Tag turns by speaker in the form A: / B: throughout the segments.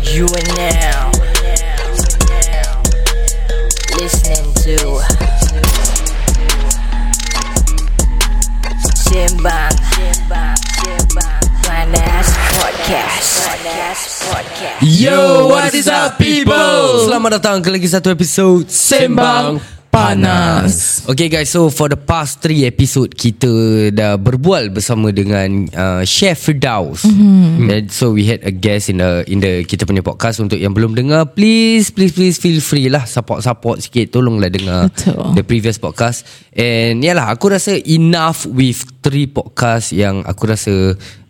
A: You are now listening to Simbang Panas Podcast. Podcast.
B: Yo, what is up people? Selamat datang ke lagi satu episod Sembang Panas Okay guys, so for the past three episode Kita dah berbual bersama dengan uh, Chef Firdaus mm-hmm. And so we had a guest in the, in the kita punya podcast Untuk yang belum dengar, please, please, please feel free lah Support-support sikit, tolonglah dengar
C: Betul.
B: The previous podcast And yalah, aku rasa enough with three podcast Yang aku rasa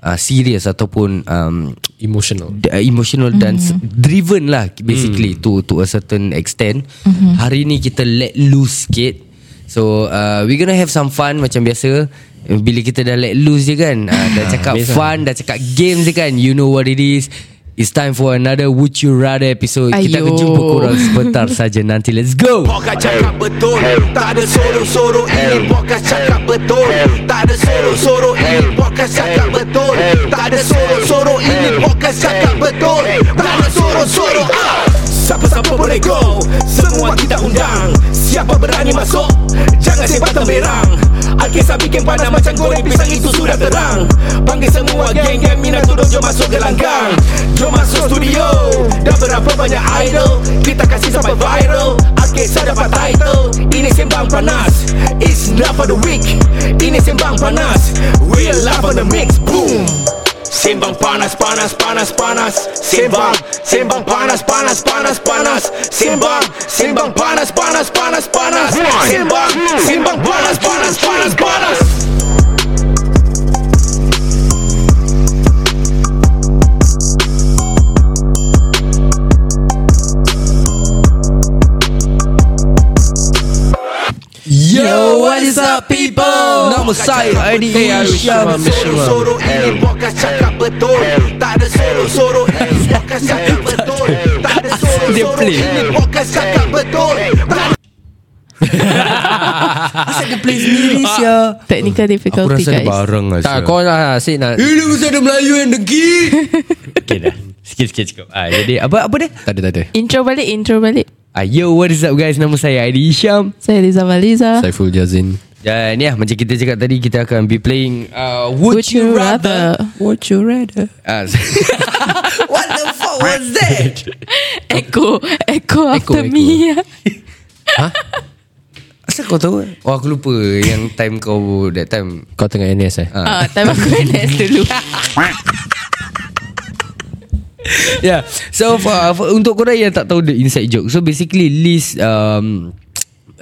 B: uh, serious ataupun um,
D: emotional.
B: d- uh, emotional dan s- driven lah basically to to a certain extent. Hari ni kita let loose sikit. So uh, we gonna have some fun macam biasa. Bila kita dah let loose je kan. Uh, dah cakap fun, dah cakap games je kan. You know what it is. It's time for another Would You Rather episode. Kita akan
C: Ayo.
B: jumpa korang sebentar saja nanti. Let's go.
E: Pokat cakap betul Tak ada sorok-sorok Ini pokat cakap betul Tak ada sorok-sorok Ini pokat cakap betul Tak ada sorok-sorok Ini pokat cakap betul Tak ada sorok-sorok Ah! Siapa-siapa boleh go Semua kita undang Siapa berani masuk Jangan sepak temberang Alkisah bikin panas macam goreng pisang itu sudah terang Panggil semua geng-geng Minato dong jom masuk ke langgang Jom masuk studio Dah berapa banyak idol Kita kasih sampai viral Alkisah dapat title Ini sembang panas It's not for the weak Ini sembang panas Real life on the mix Boom Sembang panas, panas, panas, panas Sembang, sembang panas, panas, panas, panas Sembang, sembang panas, panas, panas, panas Sembang, sembang panas, panas, panas, panas
B: Yo, what is up people? Nama saya Adi Syam.
E: Sorok-sorok ini podcast cakap betul Tak ada sorok-sorok ini podcast cakap betul Tak ada
B: Dia
E: sorok-sorok
B: play.
E: ini podcast cakap betul Tak
C: Ah. Technical
B: Aku
C: difficulty
B: rasa ada
C: guys
B: barang lah.
D: Tak, kau nak asyik nak
B: Ini mesti ada Melayu yang dengki Okay dah Sikit-sikit cukup ah, Jadi apa apa dia
D: Tak ada, tak ada.
C: Intro balik Intro balik
B: ah, Yo what is up guys Nama saya Aidy Isham
C: Saya Liza Maliza
D: Saiful Jazin.
B: Dan ya macam kita cakap tadi Kita akan be playing uh, Would, You Rather,
C: Would you rather
B: Ah, What the fuck was that
C: Echo Echo after
D: echo.
C: me
B: Asal kau tahu Oh aku lupa Yang time kau That time
D: Kau tengah NS eh? Ha.
C: Ah, Time aku NS dulu
B: yeah. So for, for untuk korang yang tak tahu the inside joke. So basically Liz um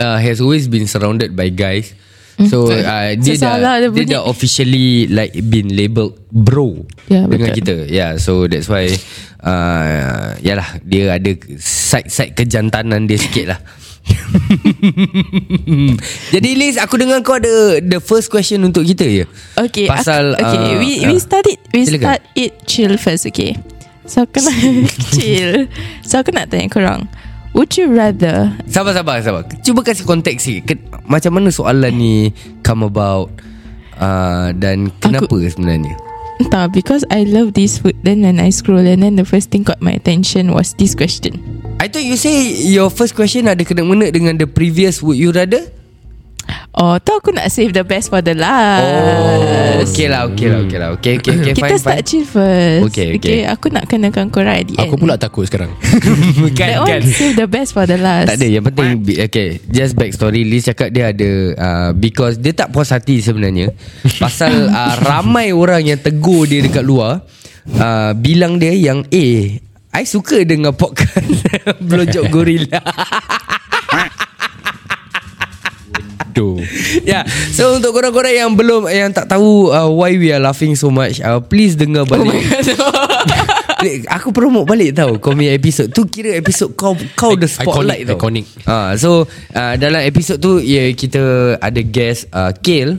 B: uh, has always been surrounded by guys. So uh, dia
C: Mm. Sesalah
B: dah dia,
C: dia bunyi.
B: dah officially like been labelled bro
C: Ya,
B: dengan
C: betul.
B: kita. Yeah, so that's why uh, yalah dia ada side-side kejantanan dia sikit lah. Jadi Liz aku dengar kau ada the first question untuk kita je.
C: Okay
B: Pasal
C: aku, Okay
B: uh,
C: we,
B: ah.
C: we start it We
B: Silakan.
C: start it chill first Okay So aku nak Chill So aku nak tanya korang Would you rather
B: Sabar sabar sabar Cuba kasih konteks sikit Ke, Macam mana soalan ni Come about uh, Dan kenapa Aku... sebenarnya
C: Entah Because I love this food Then when I scroll And then the first thing Caught my attention Was this question
B: I thought you say Your first question ada kena-mena Dengan the previous Would you rather
C: Oh tu aku nak save the best for the last
B: Oh Okay lah okay lah okay lah Okay okay, okay
C: Kita
B: fine,
C: start
B: fine.
C: chill first
B: Okay, okay.
C: okay Aku nak kenakan korang at the end
D: Aku pula takut sekarang.
B: kan,
C: That one save the best for the last
B: Tak ada yang penting bi- Okay Just backstory Liz cakap dia ada uh, Because dia tak puas hati sebenarnya Pasal uh, ramai orang yang tegur dia dekat luar uh, Bilang dia yang Eh I suka dengar podcast Blowjob Gorilla
D: Doh.
B: Ya, yeah. so untuk korang-korang yang belum yang tak tahu uh, why we are laughing so much, uh, please dengar
D: Oh
B: balik. Please, aku promote balik tau Kau punya episod Tu kira episod kau Kau the spotlight
D: Iconic,
B: tau
D: iconic.
B: Ah, So uh, Dalam episod tu ya, Kita ada guest uh, Kale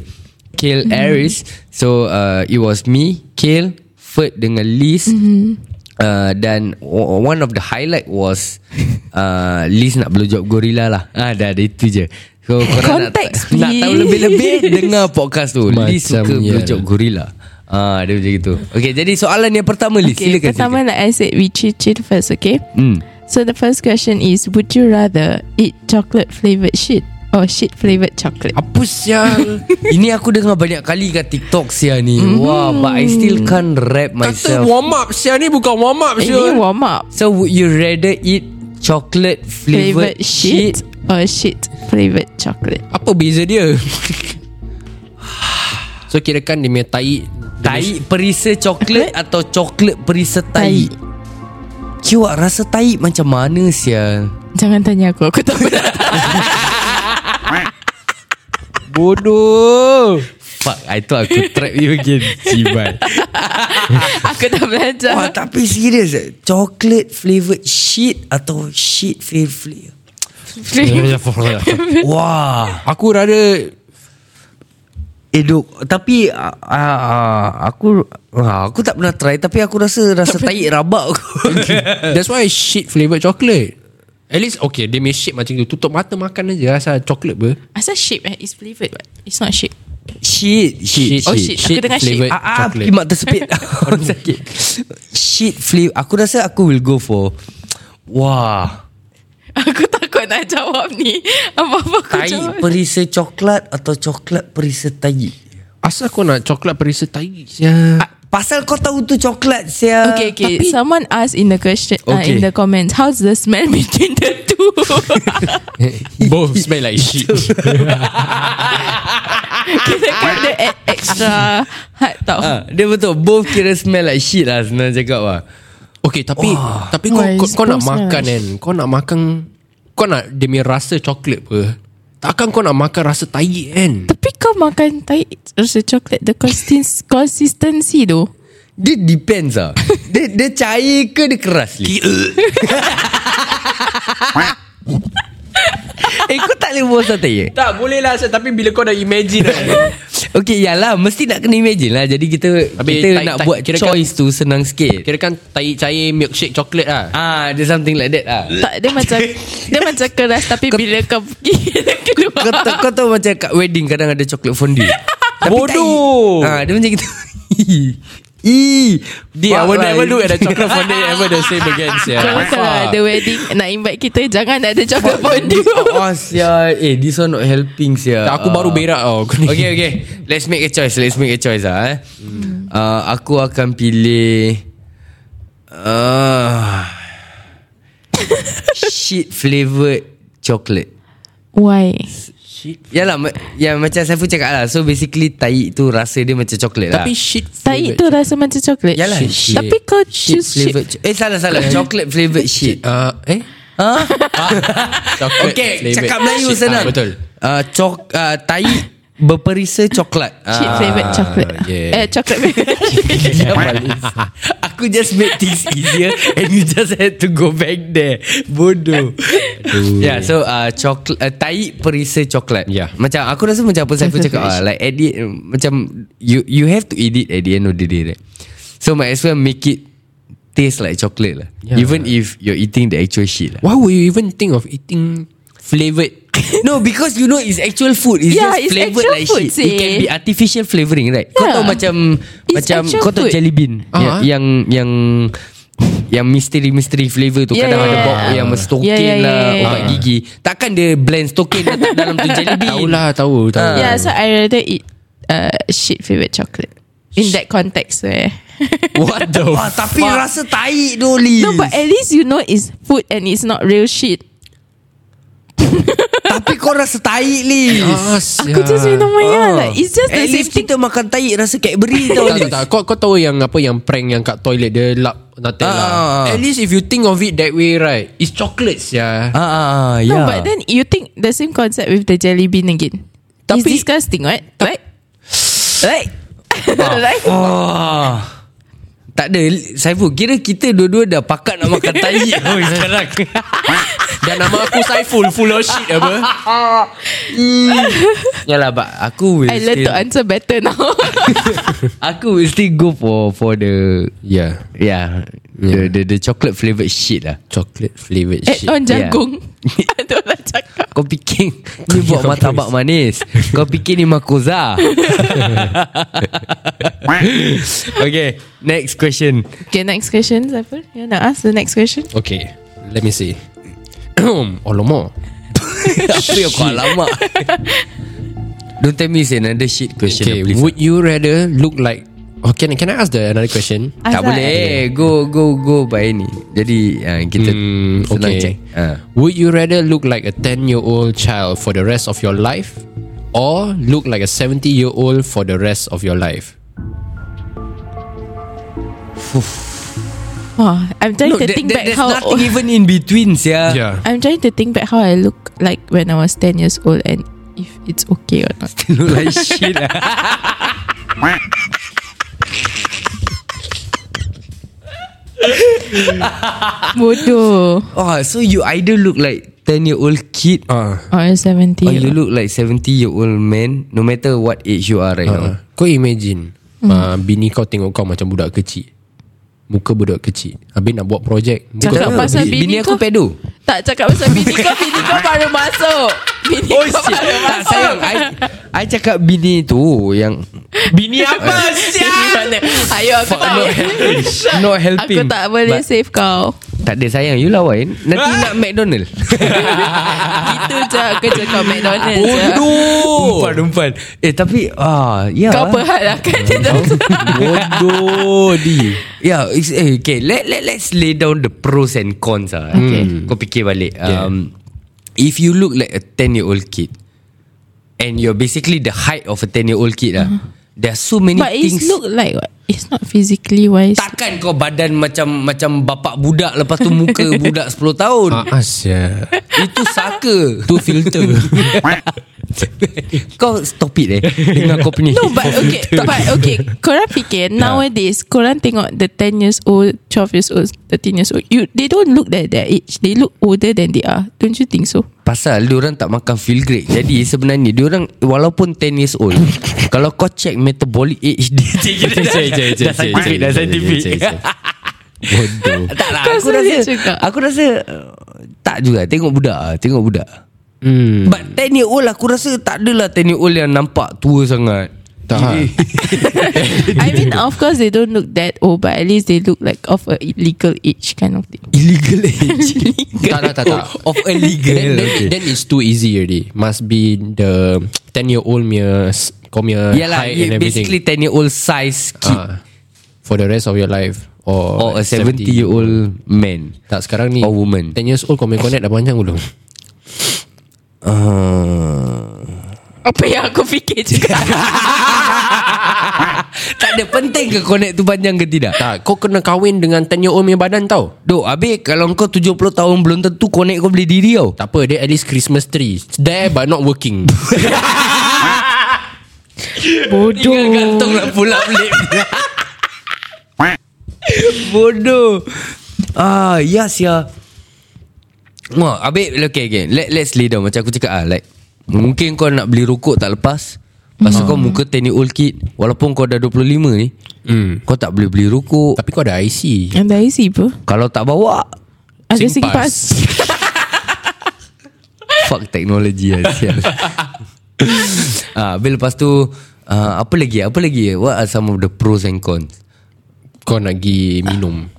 B: Kale
D: Mm-hmm.
B: mm. Aris So uh, It was me Kale Ferd dengan Liz mm-hmm. Uh, dan o- one of the highlight was uh, Liz nak blowjob gorila lah ah, Dah ada itu je So korang
C: Context,
B: nak, nak tahu
C: please.
B: lebih-lebih Dengar podcast tu Liz
D: Macam
B: suka
D: ya.
B: blowjob gorila Ah, dia macam gitu. Okay, jadi soalan yang pertama Liz.
C: Okay,
B: silakan.
C: pertama
B: silakan.
C: like I said, we cheat cheat first, okay?
B: Hmm.
C: So the first question is, would you rather eat chocolate flavored shit or shit flavored chocolate?
B: Apa sial? Ini aku dengar banyak kali kat TikTok sial ni. Mm.
C: Mm-hmm.
B: Wah, but I still can't rap
D: Kata
B: myself.
D: warm up Sial ni bukan warm up
C: Ini
D: Sial
C: warm up.
B: So would you rather eat chocolate flavored
C: Flavored shit,
B: shit?
C: or shit flavored chocolate?
D: Apa beza dia So kirakan dia punya tai
B: Tai perisa coklat atau coklat perisa tai?
C: Tai.
B: Kiwak rasa tai macam mana sial?
C: Jangan tanya aku, aku tak pernah.
D: Bodoh
B: Fuck, I thought aku trap you again. Cibat.
C: aku tak belajar.
B: Wah, tapi serius eh. Chocolate flavoured shit atau shit flavoured Wah.
D: Aku rada
B: Eh duk Tapi uh, uh, Aku uh, Aku tak pernah try Tapi aku rasa Rasa tahi rabak aku
D: That's why shit flavoured chocolate At least okay Dia punya shape macam tu Tutup mata makan aja Asal coklat ber
C: Asal shit eh? It's flavored but It's not shit.
B: Shit Shit,
C: Oh, shit. Aku dengar shit.
D: flavoured
B: Ah, ah,
D: chocolate.
B: Kimak tersepit Orang sakit Shit flip Aku rasa aku will go for Wah
C: Aku takut nak jawab ni. Apa-apa aku
B: Tai
C: jawab.
B: perisa coklat Atau coklat perisa tahi
D: Asal kau nak coklat perisa tai Sial
B: Ah. Pasal kau tahu tu coklat Sia
C: Okay, okay. Tapi, Someone asked in the question, uh,
B: Uh, Okay.
C: in the comments, how's the smell between the two?
D: Both smell like shit
C: Kita got the e- extra hard tau.
B: Ah, Dia betul Both kira smell like shit lah Senang cakap lah
D: Okay tapi Wah. Tapi kau,
C: Why,
D: kau, kau nak
C: both smell
D: makan
C: like
D: kan Kau nak makan Kau nak Dia punya rasa coklat ber Takkan kau nak makan rasa tai kan
C: Tapi kau makan tai rasa coklat, the consist- consistency tu.
B: Dia depends lah dia, dia cair ke dia keras Li? Eh kau tak boleh buat sate ya?
D: Tak boleh lah Asal, Tapi bila kau dah imagine kan
B: Okay yalah ya Mesti nak kena imagine lah Jadi kita
D: Habis
B: Kita
D: tai-
B: nak
D: tai-
B: buat
D: kirakan-
B: choice tu Senang sikit
D: Kira kan tai cair milkshake coklat lah
B: Ah, There's something like that lah
C: Tak, dia macam dia macam keras tapi bila kau pergi dia keluar.
B: kau, tahu- kau tahu macam kat wedding Kadang ada coklat fondue Tapi
D: Bodoh.
B: tai, ah, Dia macam gitu Ii,
D: Yeah, I will never look at the chocolate fondue ever the same again. Yeah.
C: Kalau kau ada wedding Nak invite kita Jangan ada coklat fondue
B: Oh, sia. Eh, this one not helping, sia.
D: Tak, aku
B: Ah.
D: baru berak tau. Kau ni.
B: Okay okay Let's make a choice Let's make a choice lah eh. Hmm. Uh, aku akan pilih uh, Shit flavoured chocolate
C: Why?
B: Yalah ma- ya, Macam Saiful cakap lah So basically Tai tu rasa dia macam coklat lah
D: Tapi shit
C: Tai tu rasa macam coklat
B: Yalah, shit.
C: Tapi kau choose shit
B: flavoured cho- Eh salah salah Chocolate flavoured shit
D: Uh, eh?
B: huh?
D: Chocolate
B: Ah. Okay
D: flavoured
B: Cakap Melayu
D: shit.
B: senang
D: Ah, betul.
B: uh, cok- uh, Tai berperisa Ah. coklat
C: Shit flavoured chocolate
D: yeah.
C: Eh chocolate flavoured
B: Aku just made things easier And you just had to go back there Bodoh Yeah so uh, coklat, uh, Tai perisa coklat
D: Yeah.
B: Macam aku rasa macam apa Saiful cakap ah, Like at the um, Macam You you have to eat it at the end of the day right? So might as well make it Taste like chocolate lah
D: Yeah.
B: Even if you're eating the actual shit lah
D: Why would you even think of eating flavoured?
B: No because you know It's actual food It's
C: Yeah,
B: just
C: it's
B: flavoured
C: actual
B: like
C: food,
B: shit It
C: seh.
B: can be artificial flavouring right Kau
C: Yeah.
B: tahu macam
C: It's
B: Macam
C: actual
B: Kau tahu
C: food.
B: jelly bean
D: Ah.
B: uh-huh. Yang Yang yang misteri-misteri flavour tu
C: Yeah,
B: Kadang
C: yeah,
B: ada
C: yeah.
B: bok yang stokin
C: Yeah, yeah,
B: lah
C: yeah, yeah,
B: Ubat
D: yeah.
B: gigi Takkan dia blend stokin Letak dalam tu jelly bean
D: Tahu lah, tahu, tahu.
B: Ah.
C: Yeah
B: Um,
C: so I rather eat uh, Shit flavoured chocolate In that context eh.
B: What the Wah, Ah, Tapi rasa tai doli
C: No but at least you know It's food and it's not real shit
B: Tapi kau rasa tai Liz
C: Aku just
B: Ah.
C: minum maya like, It's just
B: At
C: the same
B: least
C: thing
B: kita makan tai Rasa Cadbury tau
D: tak, tak, tak. Kau, kau tahu yang apa yang prank yang kat toilet dia lap Nutella.
B: Ah.
D: At least if you think of it that way, right? It's chocolates, yeah.
B: Ah, ah, ah, yeah.
C: No but then You think the same concept With the jelly bean again It's
D: Tapi-
C: disgusting right? Right? Right? Right?
B: Oh. Tak ada Saiful Kira kita dua-dua dah pakat nak makan tai oh, sekarang
D: Dan nama aku Saiful, full of shit apa?
B: Hmm. Yalah but Aku will
C: I learn
B: still
C: to answer better now.
B: Aku will still go for For the
D: Yeah,
B: Yeah, The, the, the chocolate flavoured shit lah
D: chocolate flavoured
C: Add Eh,
D: shit.
C: on jagung. Itulah cakap
B: Kau fikir Ni buat martabak manis Kau fikir ni makoza Okay Next question
C: Okay next question Siapa yang nak ask The next question
D: Okay Let me see Alamak
B: Apa yang kau alamak Don't tell me it's another shit question
D: Okay
B: please.
D: Would you rather look like oh, can, can I ask the another question
B: Tak
C: Azad.
B: boleh Eh, Go go go by ni Jadi uh, kita
D: Hmm,
B: senang
D: okay.
B: check uh.
D: Would you rather look like a 10 year old child for the rest of your life or look like a 70 year old for the rest of your life?
C: Wah, I'm trying
B: Look,
C: to
B: there-
C: think
B: there-
C: back
B: There's
C: how
B: nothing even in between sia.
C: I'm trying to think back how I look like when I was 10 years old and if it's okay or not.
B: Look like shit lah.
C: Bodoh.
B: Oh, so you either look like 10 year old kid
D: Ah.
C: Or 70.
B: Or Oh, you look like 70 year old man No matter what age you are right
D: Uh,
B: now
D: kau imagine mm. uh, bini kau tengok kau macam budak kecil. Muka budak kecil. Habis nak buat projek. Muka
C: Cakap
D: kau-
C: pasal
B: Bi-
C: bini
B: bini aku
C: kau-
B: pedo
C: Tak cakap pasal bini kau, bini kau baru masuk. Bini
B: Oh
C: kau
B: shit
C: baru
B: Tak
C: masuk.
B: sayang I, I cakap bini tu Yang Bini apa
C: Bini mana? Ayo aku tak
B: Not helping Not helping
C: Aku tak boleh
B: But-
C: save kau.
B: Tak ada sayang You lawan Nanti nak McDonald
C: Itu je kerja kau McDonald's. je.
B: Bodoh Umpan umpan Eh tapi ah, ya.
C: Kau perhat lah kan
B: Bodoh di. Yeah, it's, eh, okay. Let let let's lay down the pros and cons ah. Okay. Kau fikir balik. Um, if you look like a 10 year old kid and you're basically the height of a 10 year old kid lah. There are so many
C: Uh-huh. But it's
B: things.
C: look like what? It's not physically wise.
B: Takkan kau badan macam macam bapak budak lepas tu muka budak 10 tahun.
D: Ah, asyik.
B: Itu saka Tu filter Kau stop it eh Dengan kau punya
C: No, but okay, but okay. Korang fikir nowadays, korang tengok the 10 years old, 12 years old, 13 years old. You, they don't look like their age. They look older than they are. Don't you think so?
B: Pasal diorang tak makan feel great Jadi sebenarnya Diorang walaupun 10 years old Kalau kau check metabolic age dia
D: Cik, cik, cik,
B: Dah scientific
D: cik, cik,
B: Dah
D: cik,
B: scientific
D: cik, cik, cik. Bodoh.
B: Tak lah
C: Kau
B: aku
C: serius
B: rasa
C: juga?
B: Aku rasa uh, Tak juga Tengok budak ah, Tengok budak
D: Hmm.
B: But 10 year old aku rasa Tak adalah 10 year old yang nampak tua sangat
D: Tak. ah.
C: I mean, of course, they don't look that old, but at least they look like of a legal age kind of thing.
B: Illegal age
D: Tak, tak, tak, tak.
B: Of illegal
D: Then, then, then it's too easy already. Must be the 10 year old mere s- kau mere
B: Yalah
D: Uh, height
B: yeah,
D: and everything.
B: Basically 10 year old size kid
D: Ah. for the rest of your life or,
B: Or a 70 year old man
D: tak sekarang ni
B: Or woman.
D: 10 years old kau punya connect dah panjang belum
B: uh,
C: Apa yang aku fikir juga.
B: Tak ada penting ke connect tu panjang ke tidak
D: tak kau kena kahwin dengan 10 year old punya badan tau
B: Dok habis kalau kau 70 tahun belum tentu connect kau boleh diri tau
D: tak apa dia at least Christmas tree It's there but not working
B: Tinggal gantung
D: lah,
B: nak pula balik Bodoh Ah yes ya Wah habis okay, okay. Let, let's lay down Macam aku cakap ah, like, Mungkin kau nak beli rokok tak lepas Pasal kau muka 10 year old kid Walaupun kau dah 25 ni
D: Hmm.
B: Kau tak boleh beli rokok
D: tapi kau ada IC
C: Yang dah isi apa?
B: Kalau tak bawa
C: Ada
D: Sing
C: singpas.
B: Fuck technology lah sial. ah, Habis lepas tu ah, Apa lagi Apa lagi What are some of the pros and cons
D: kau nak pergi minum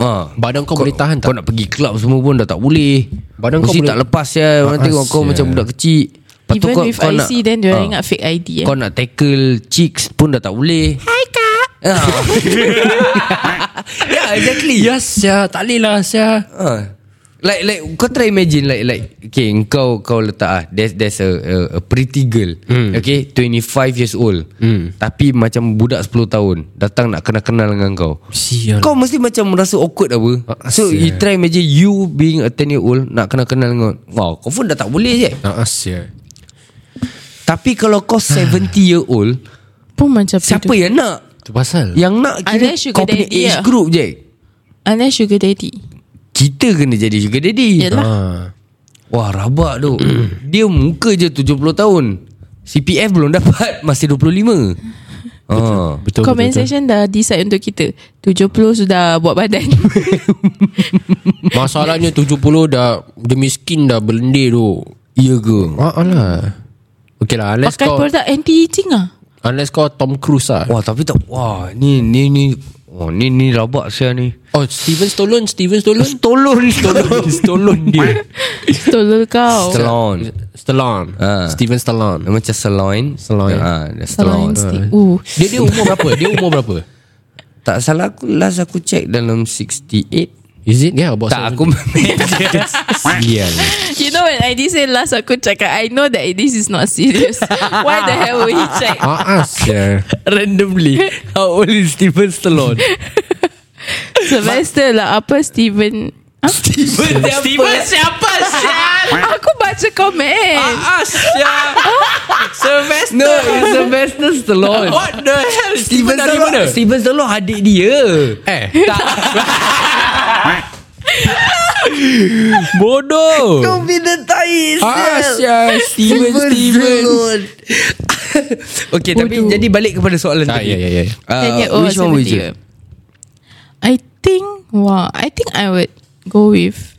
B: ah,
D: badan kau, boleh tahan
B: Kau nak
D: tak
B: pergi club semua pun Dah tak boleh
D: Badan
B: Mesti
D: kau
B: tak
D: boleh-
B: lepas ya Orang
D: Ah,
B: tengok kau
D: sia.
B: macam budak kecil Lepas tu
C: Even
B: kau,
C: with
B: kau
C: IC,
B: nak,
C: then dia
B: ah,
C: orang ingat fake ID. Eh.
B: Kau nak tackle chicks pun dah tak boleh Hai kak ah. Yeah Ya, exactly
D: yes ya tak boleh lah ya
B: Ah. Like like kau try imagine like like okay kau kau letak ah there's there's a a, a pretty girl mm. okay 25 years old mm. tapi macam budak 10 tahun datang nak kenal-kenal dengan kau.
D: Sial.
B: Kau mesti macam merasa awkward apa.
D: Ah,
B: so you
D: sial.
B: try imagine you being a 10 year old nak kenal-kenal dengan wow kau pun dah tak boleh je.
D: nak asyik
B: Tapi kalau kau 70 year old
C: Pun macam
B: siapa
C: bodoh.
B: yang nak?
D: tu pasal
B: Yang nak
C: Unless
B: kira
C: sugar
B: kau punya
C: daddy
B: age
C: lah.
B: group je.
C: Unless sugar daddy.
B: Kita kena jadi sugar daddy.
C: Yelah.
D: ah.
B: Wah rabak tu Dia muka je 70 tahun CPF belum dapat Masih 25 ha, Ah.
D: Betul,
C: Compensation dah decide untuk kita 70 sudah buat badan
D: betul. Masalahnya 70 dah dia miskin dah berlendir tu.
B: Ya ke?
D: Ah alah. Okay lah unless
C: Pakai
D: kau
C: produk anti-aging ah.
D: unless kau Tom Cruise lah.
B: Wah tapi tak Wah ni ni ni Wah ni ni rabak saya ni
D: Oh Steven Stallone, Steven Stallone.
B: Tolong
D: Stallone, Stallone dia.
C: Tolol kau
B: Stallone
D: Stallone.
B: Ah.
D: Steven Stallone.
B: Dia Macam saloin
D: Saloin.
B: ha, dia Saloin
C: Salon stick Ooh.
D: Dia dia umur berapa? Dia umur berapa?
B: Tak salah aku Last aku check dalam 68
D: Is it? Yeah, about
B: Tak aku
D: Sial.
C: You know when I did say last aku cakap I know that this is not serious Why the hell will he check
D: Ah, ah, sial.
B: Randomly How old is Steven Stallone
C: Sylvester lah Apa Steven Huh?
B: Steven Steven
C: siapa sial Aku baca komen
D: Ah,
B: Sylvester No it's Sylvester Stallone What the hell Steven
D: dari
B: Stallone
D: mana?
B: Steven Stallone adik dia
D: Eh, tak. Bodoh.
B: Kau bina tai
D: Ah,
B: sial.
D: sial. Steven, Steven.
B: Okay tapi
C: Bodoh.
B: Jadi balik kepada soalan
D: Ah,
B: tadi
D: ya, ya, ya.
B: Uh,
C: 10 year old
B: Which one would you
C: I think Wow I think I would Go with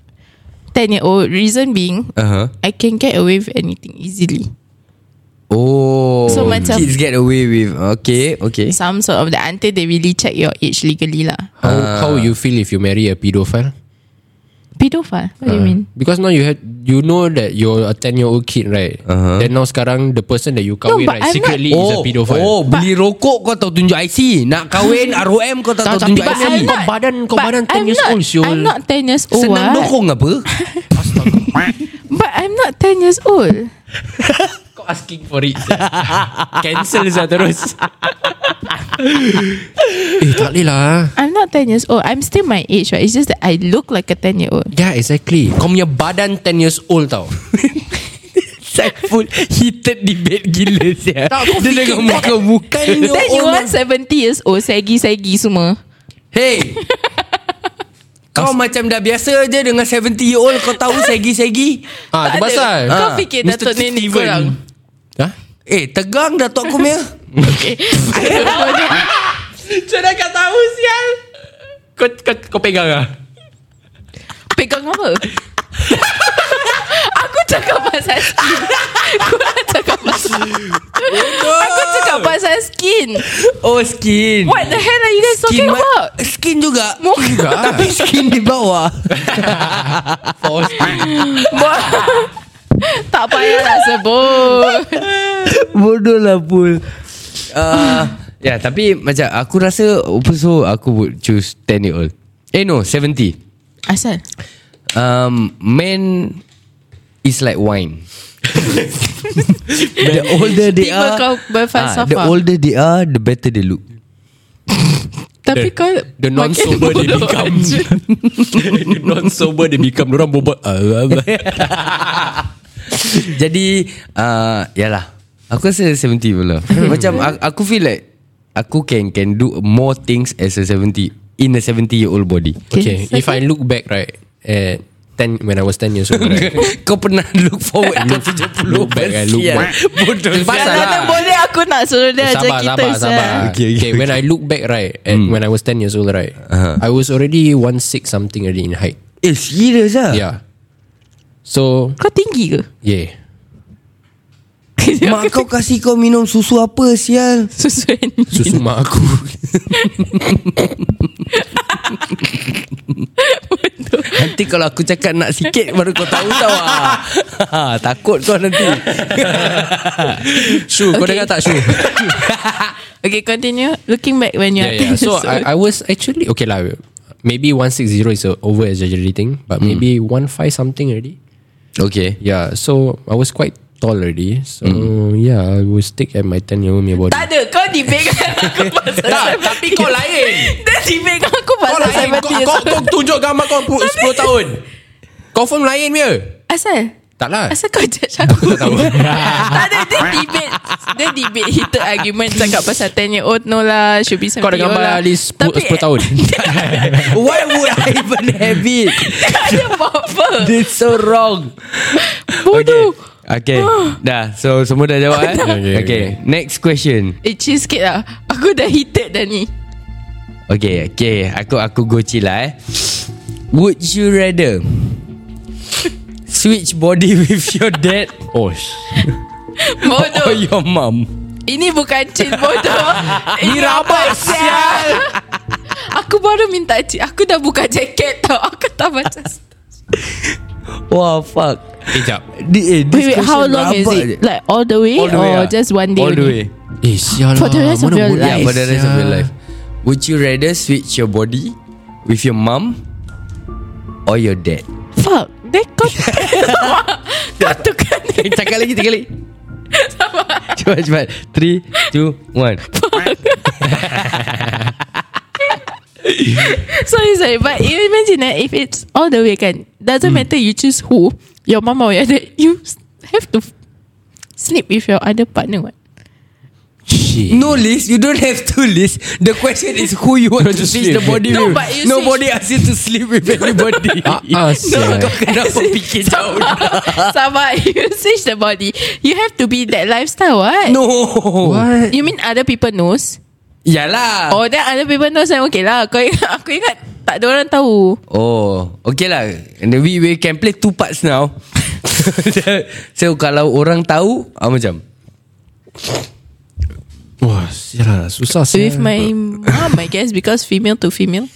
C: 10 year old Reason being
B: Uh-huh.
C: I can get away with anything easily
B: Oh
C: So, macam-
B: Kids get away with Okay Okay
C: Some sort of that Until they really check your age legally lah
D: How,
B: Ah.
D: how you feel if you marry a pedophile?
C: Pedophile What
D: Uh.
C: do you mean?
D: Uh-huh. Because now you had you know that you're a 10 year old kid right
B: Uh-huh.
D: Then now sekarang the person that you kahwin
C: No, but
D: right
C: I'm
D: secretly is a pedophile
B: Oh, beli rokok kau tahu tunjuk IC. Nak kahwin ROM kau tak tahu tunjuk
D: But
C: But
B: IC.
D: I'm kau badan- kau
C: but
D: badan 10
C: I'm
D: years
C: not-
D: old, siul.
C: I'm not 10 years old
B: Senang
C: what?
B: dokong apa?
C: But I'm not 10 years old
D: Kau asking for it sia. Cancel saja terus Eh tak boleh lah
C: I'm not 10 years old I'm still my age right It's just that I look like a 10 year old
D: Yeah exactly Kau punya badan 10 years old tau
B: Saiful heated debate gila sia. Dia dengan muka-muka.
C: Then you want 70 years old Segi-segi semua
B: Hey. Kau macam dah biasa je dengan 70 year old kau tahu segi-segi.
C: Tak
D: Ah tu
C: ada.
D: pasal
C: Kau
B: Ah,
C: fikir
B: Mr.
C: Datuk Nenek
B: Steven.
C: korang
D: Ha?
B: Eh, tegang Datuk aku punya.
D: Macam kau tahu sial kau, kau, kau pegang lah
C: Pegang apa? Aku cakap pasal skin Aku nak cakap pasal Aku cakap pasal skin
B: Oh, skin.
C: What the hell are you guys
B: Skin,
C: talking
B: ma-
C: about?
B: skin juga.
C: Muka
B: Tapi skin di bawah.
C: Tak payahlah sebut
B: Bodoh lah pul uh, Ya yeah, tapi macam Aku rasa So aku would choose 10 year old Eh no 70
C: Asal?
B: um, Man Is like wine The older they
C: Tiba
B: are ah,
C: kau berfalsafah.
B: The older they are The better they look
C: Tapi
D: The-
C: kau
D: The non-sober
C: makin
D: they
C: bodoh
D: become
C: aja.
D: The non-sober they become Diorang bobot
B: Jadi uh, Yalah Aku rasa 70 pula Macam a- Aku feel like Aku can can do more things As a 70 In a 70 year old body
D: Okay, if I look back right at ten when I was ten years old, right?
B: Kau pernah look forward Ke 70
D: look back, I look
B: Sial.
D: back.
B: Bodoh
D: Pasal
C: Kalau
D: lah.
C: tak boleh aku nak suruh dia ajak Eh,
D: sabar,
C: kita Sal.
D: sabar, sabar.
B: Okay,
D: Okay, Hmm. Uh-huh.
B: okay,
D: when I look back right at when I was ten years old, right? I was already one six something already in height.
B: Eh serious lah
D: Yeah. So
C: Kau tinggi ke?
D: yeah,
B: Mak kau kasih kau minum susu apa sial
C: Susu
D: susu mak aku.
B: Nanti kalau aku cakap nak sikit Baru kau tahu tau ah. Ha, Takut kau nanti
D: Shu, kau
C: Okay.
D: dengar tak Shu?
C: Okay continue Looking back when you are
D: yeah,
C: 10
D: yeah.
C: years
D: So
C: old
D: I, I was actually okay lah. Maybe one six zero is a over exaggerating, but maybe one five something already.
B: Okay
D: Yeah, so I was quite tall already. So yeah, I was stick at my ten year old me body.
C: Tak ada Kau dipegang aku pasal
D: Tak,
C: seventy.
D: tapi kau lain.
C: Dia dipegang aku
D: Kau
C: pasal
D: lain Kau,
C: 70 years
D: kau,
C: old
D: kau tunjuk gambar kau pu- 10 tahun Kau firm lain punya
C: Asal?
D: Tak lah
C: Asal kau judge aku
D: tak tahu.
C: Tak ada Dia debate Dia debate Heated argument Cakap pasal 10 year old No lah Should be 70
D: Kau ada
C: year old
D: gambar
C: lah.
D: Ali 10,
C: Tapi,
D: 10 tahun
B: Why would I even have it
C: Tak ada apa-apa
B: It's so wrong
C: Bodoh
B: Okay. Okay Dah So semua dah jawab eh
D: Okay,
B: okay,
D: okay,
B: okay Next question
C: Eh cheesecake lah Aku dah heated dah ni
B: Okay Okay Aku aku go chill lah eh Would you rather Switch body with your dad
D: Oh sh- Oh,
B: Or
C: Bodoh
B: your mum
C: Ini bukan cheese bodoh Ini rabak sial Aku baru minta cheese Aku dah buka jaket tau Aku tak baca
B: Wah fuck
D: Eh jap
B: Di, eh, this
C: Wait wait
B: question
C: how long is
B: rabak je.
C: it Like all the way
B: All the way
C: Or
B: ah.
C: just one day
B: All the
C: only?
B: way
D: Eh sial
C: For the
D: lah,
C: rest of
D: mana
C: your
D: boleh,
B: Yeah for the rest of your
D: sial.
B: life Would you rather switch your body With your mum Or your dad
C: Fuck Then kau Kau tukar ni
B: Eh, Cakap lagi tiga kali Cepat cepat 3, 2, 1
C: Sorry sorry But you imagine eh, If it's all the way kan Doesn't
B: Hmm.
C: matter you choose who Your mama or your dad You s- have to f- Sleep with your other partner what
D: Shit
B: No list You don't have to list The question is Who you want to switch
D: sleep.
B: the body
C: No,
B: with
C: but you
B: Nobody ask you to sleep with anybody
D: Ah, ah, sial.
B: Kau kenapa fikir jauh
C: Sama You switch the body You have to be that lifestyle what
B: No
C: You mean other people knows
B: Yalah
C: Oh then other people knows then Okay lah kau ingat, Aku ingat Tak ada orang tahu
B: Oh Okay lah And then we, we can play two parts now So kalau orang tahu ah, Macam
D: Wah sial lah Susah sial
C: With my mom I guess Because female to female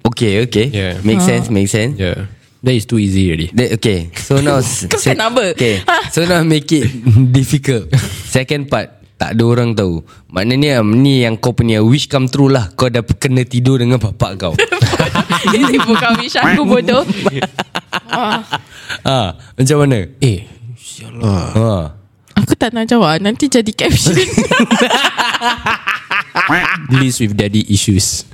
B: Okay okay
D: Yeah.
B: Make sense make sense
D: Yeah That is too easy already
B: That, okay So now s-
C: Kau
B: se-
C: kenapa?
B: Okay So now make it difficult Second part Tak ada orang tahu Maknanya um, Ni yang kau punya Wish come true lah Kau dah kena tidur Dengan bapak kau
C: Ini bukan wish aku bodoh
B: ha, Macam mana
D: Eh sial lah
B: ha.
C: Aku tak nak jawab Nanti jadi caption
D: List with daddy issues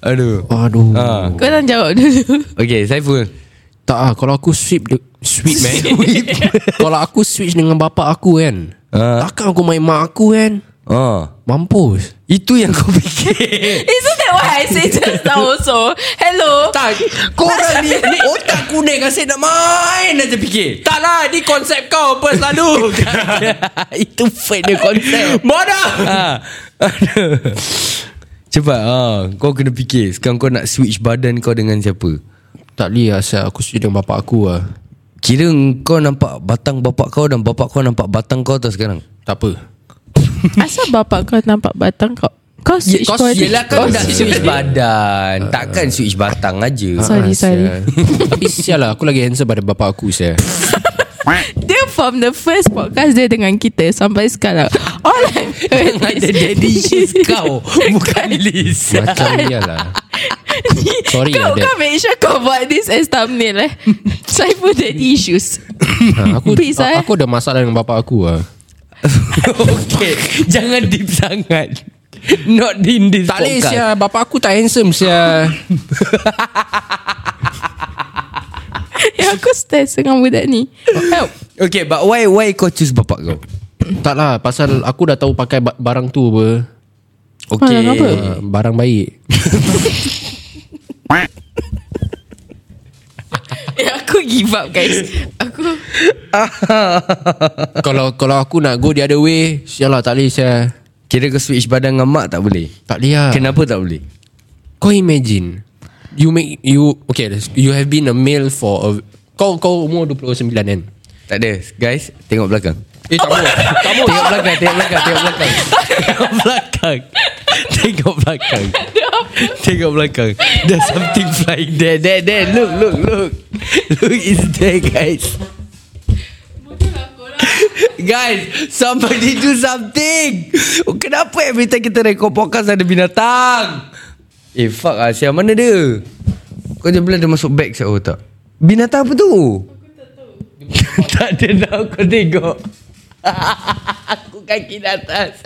B: Aduh
D: Aduh
B: ha.
C: Kau nak jawab dulu
B: Okay Saiful
D: Ah. Tak ah Kalau aku sweep de- Sweep man Kalau aku switch dengan bapak aku kan
B: Ah.
D: Takkan aku main mak aku kan
B: ha.
D: Mampus
B: Itu yang kau fikir
C: Isn't that what I say just now also Hello
B: Tak Korang ni Otak kuning Asyik nak main Aja fikir Tak lah Ni konsep kau Apa selalu Itu fake dia konsep Bodoh ha. Aduh. Cepat ha. Kau kena fikir Sekarang kau nak switch badan kau dengan siapa
D: Tak boleh lah sial. Aku switch dengan bapak aku lah
B: Kira kau nampak batang bapak kau Dan bapak kau nampak batang kau tau sekarang
D: Tak apa
C: Asal bapak kau nampak batang kau Kau lah. switch
D: Oh,
B: Kau
C: body.
B: yelah kau nak
C: switch-
B: switch badan Takkan switch batang aja
C: Sorry
D: Ah,
C: sorry
D: sial. Tapi sial lah Aku lagi handsome pada bapak aku sial
C: Dia from the first podcast Dia dengan kita Sampai sekarang All I've heard
B: Ada
C: is-
B: daddy issues kau Bukan Liz
D: Macam dia lah Sorry
C: kau,
D: lah
C: kau
D: dad
C: make sure kau buat this as thumbnail eh Saiful daddy issues
D: ha, aku,
C: Please, eh.
D: aku ada masalah dengan bapak aku lah
B: Okay Jangan deep sangat Not in this
D: Tak boleh
B: podcast
D: sial Bapak aku tak handsome sial
C: Ya aku stress dengan budak ni Help
B: Okay but why Why kau choose bapak kau
D: Tak lah Pasal aku dah tahu pakai ba- barang tu apa
B: Okay
C: Barang apa?
D: uh, Barang baik
C: Ya aku give up guys Aku
D: Kalau kalau aku nak go the other way Sial lah tak boleh sial
B: Kira kau switch badan dengan mak tak boleh
D: Tak boleh lah
B: Kenapa tak boleh
D: Kau imagine You make you Okay You have been a male for a, Kau kau umur 29 kan
B: Tak ada Guys Tengok belakang
D: Eh tak boleh
B: Kamu tengok belakang Tengok belakang Tengok belakang Tengok belakang Tengok belakang Tengok belakang There's something flying there There there Look look look Look is there guys Guys Somebody do something Oh, Kenapa every time kita record podcast Ada binatang Eh fuck lah Sial mana dia Kau jangan bila dia masuk bag saya oh, tak Binatang apa tu Tak ada nak kau tengok Aku kaki di atas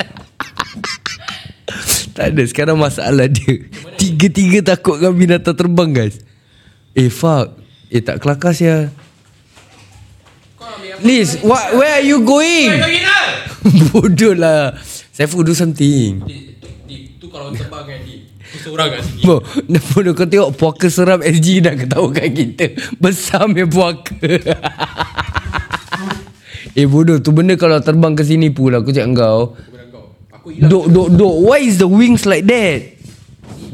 B: Tak ada Sekarang masalah dia Tiga-tiga takut dengan binatang terbang guys Eh fuck Eh tak kelakar ya Liz what, Where are you going Bodoh lah Saiful do something
D: Itu kalau terbang kan Seorang kat sini
B: Bo, dah pun kau tengok puaka seram SG dah ketawakan kita. Besar punya puaka. eh bodoh tu benda kalau terbang ke sini pula aku cakap kau. Dok dok dok why is the wings like that?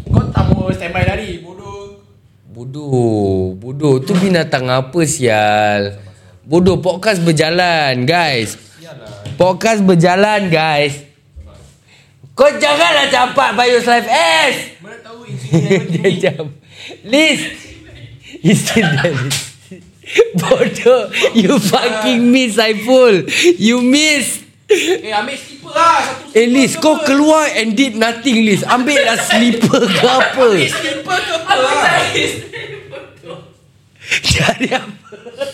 D: Kau tak mau standby lari Bodoh
B: Bodoh, bodoh tu binatang apa sial? Bodoh podcast berjalan guys. Podcast berjalan guys. Kau janganlah campak Bios Life S.
D: Mana tahu ini
B: Dia jam Liz You still there Liz Bodoh You fucking miss Saiful You miss
D: Eh ambil skipper lah Satu
B: Eh Liz kau keluar and did nothing Liz Ambil lah slipper ke apa
D: skipper ke apa lah
B: Cari apa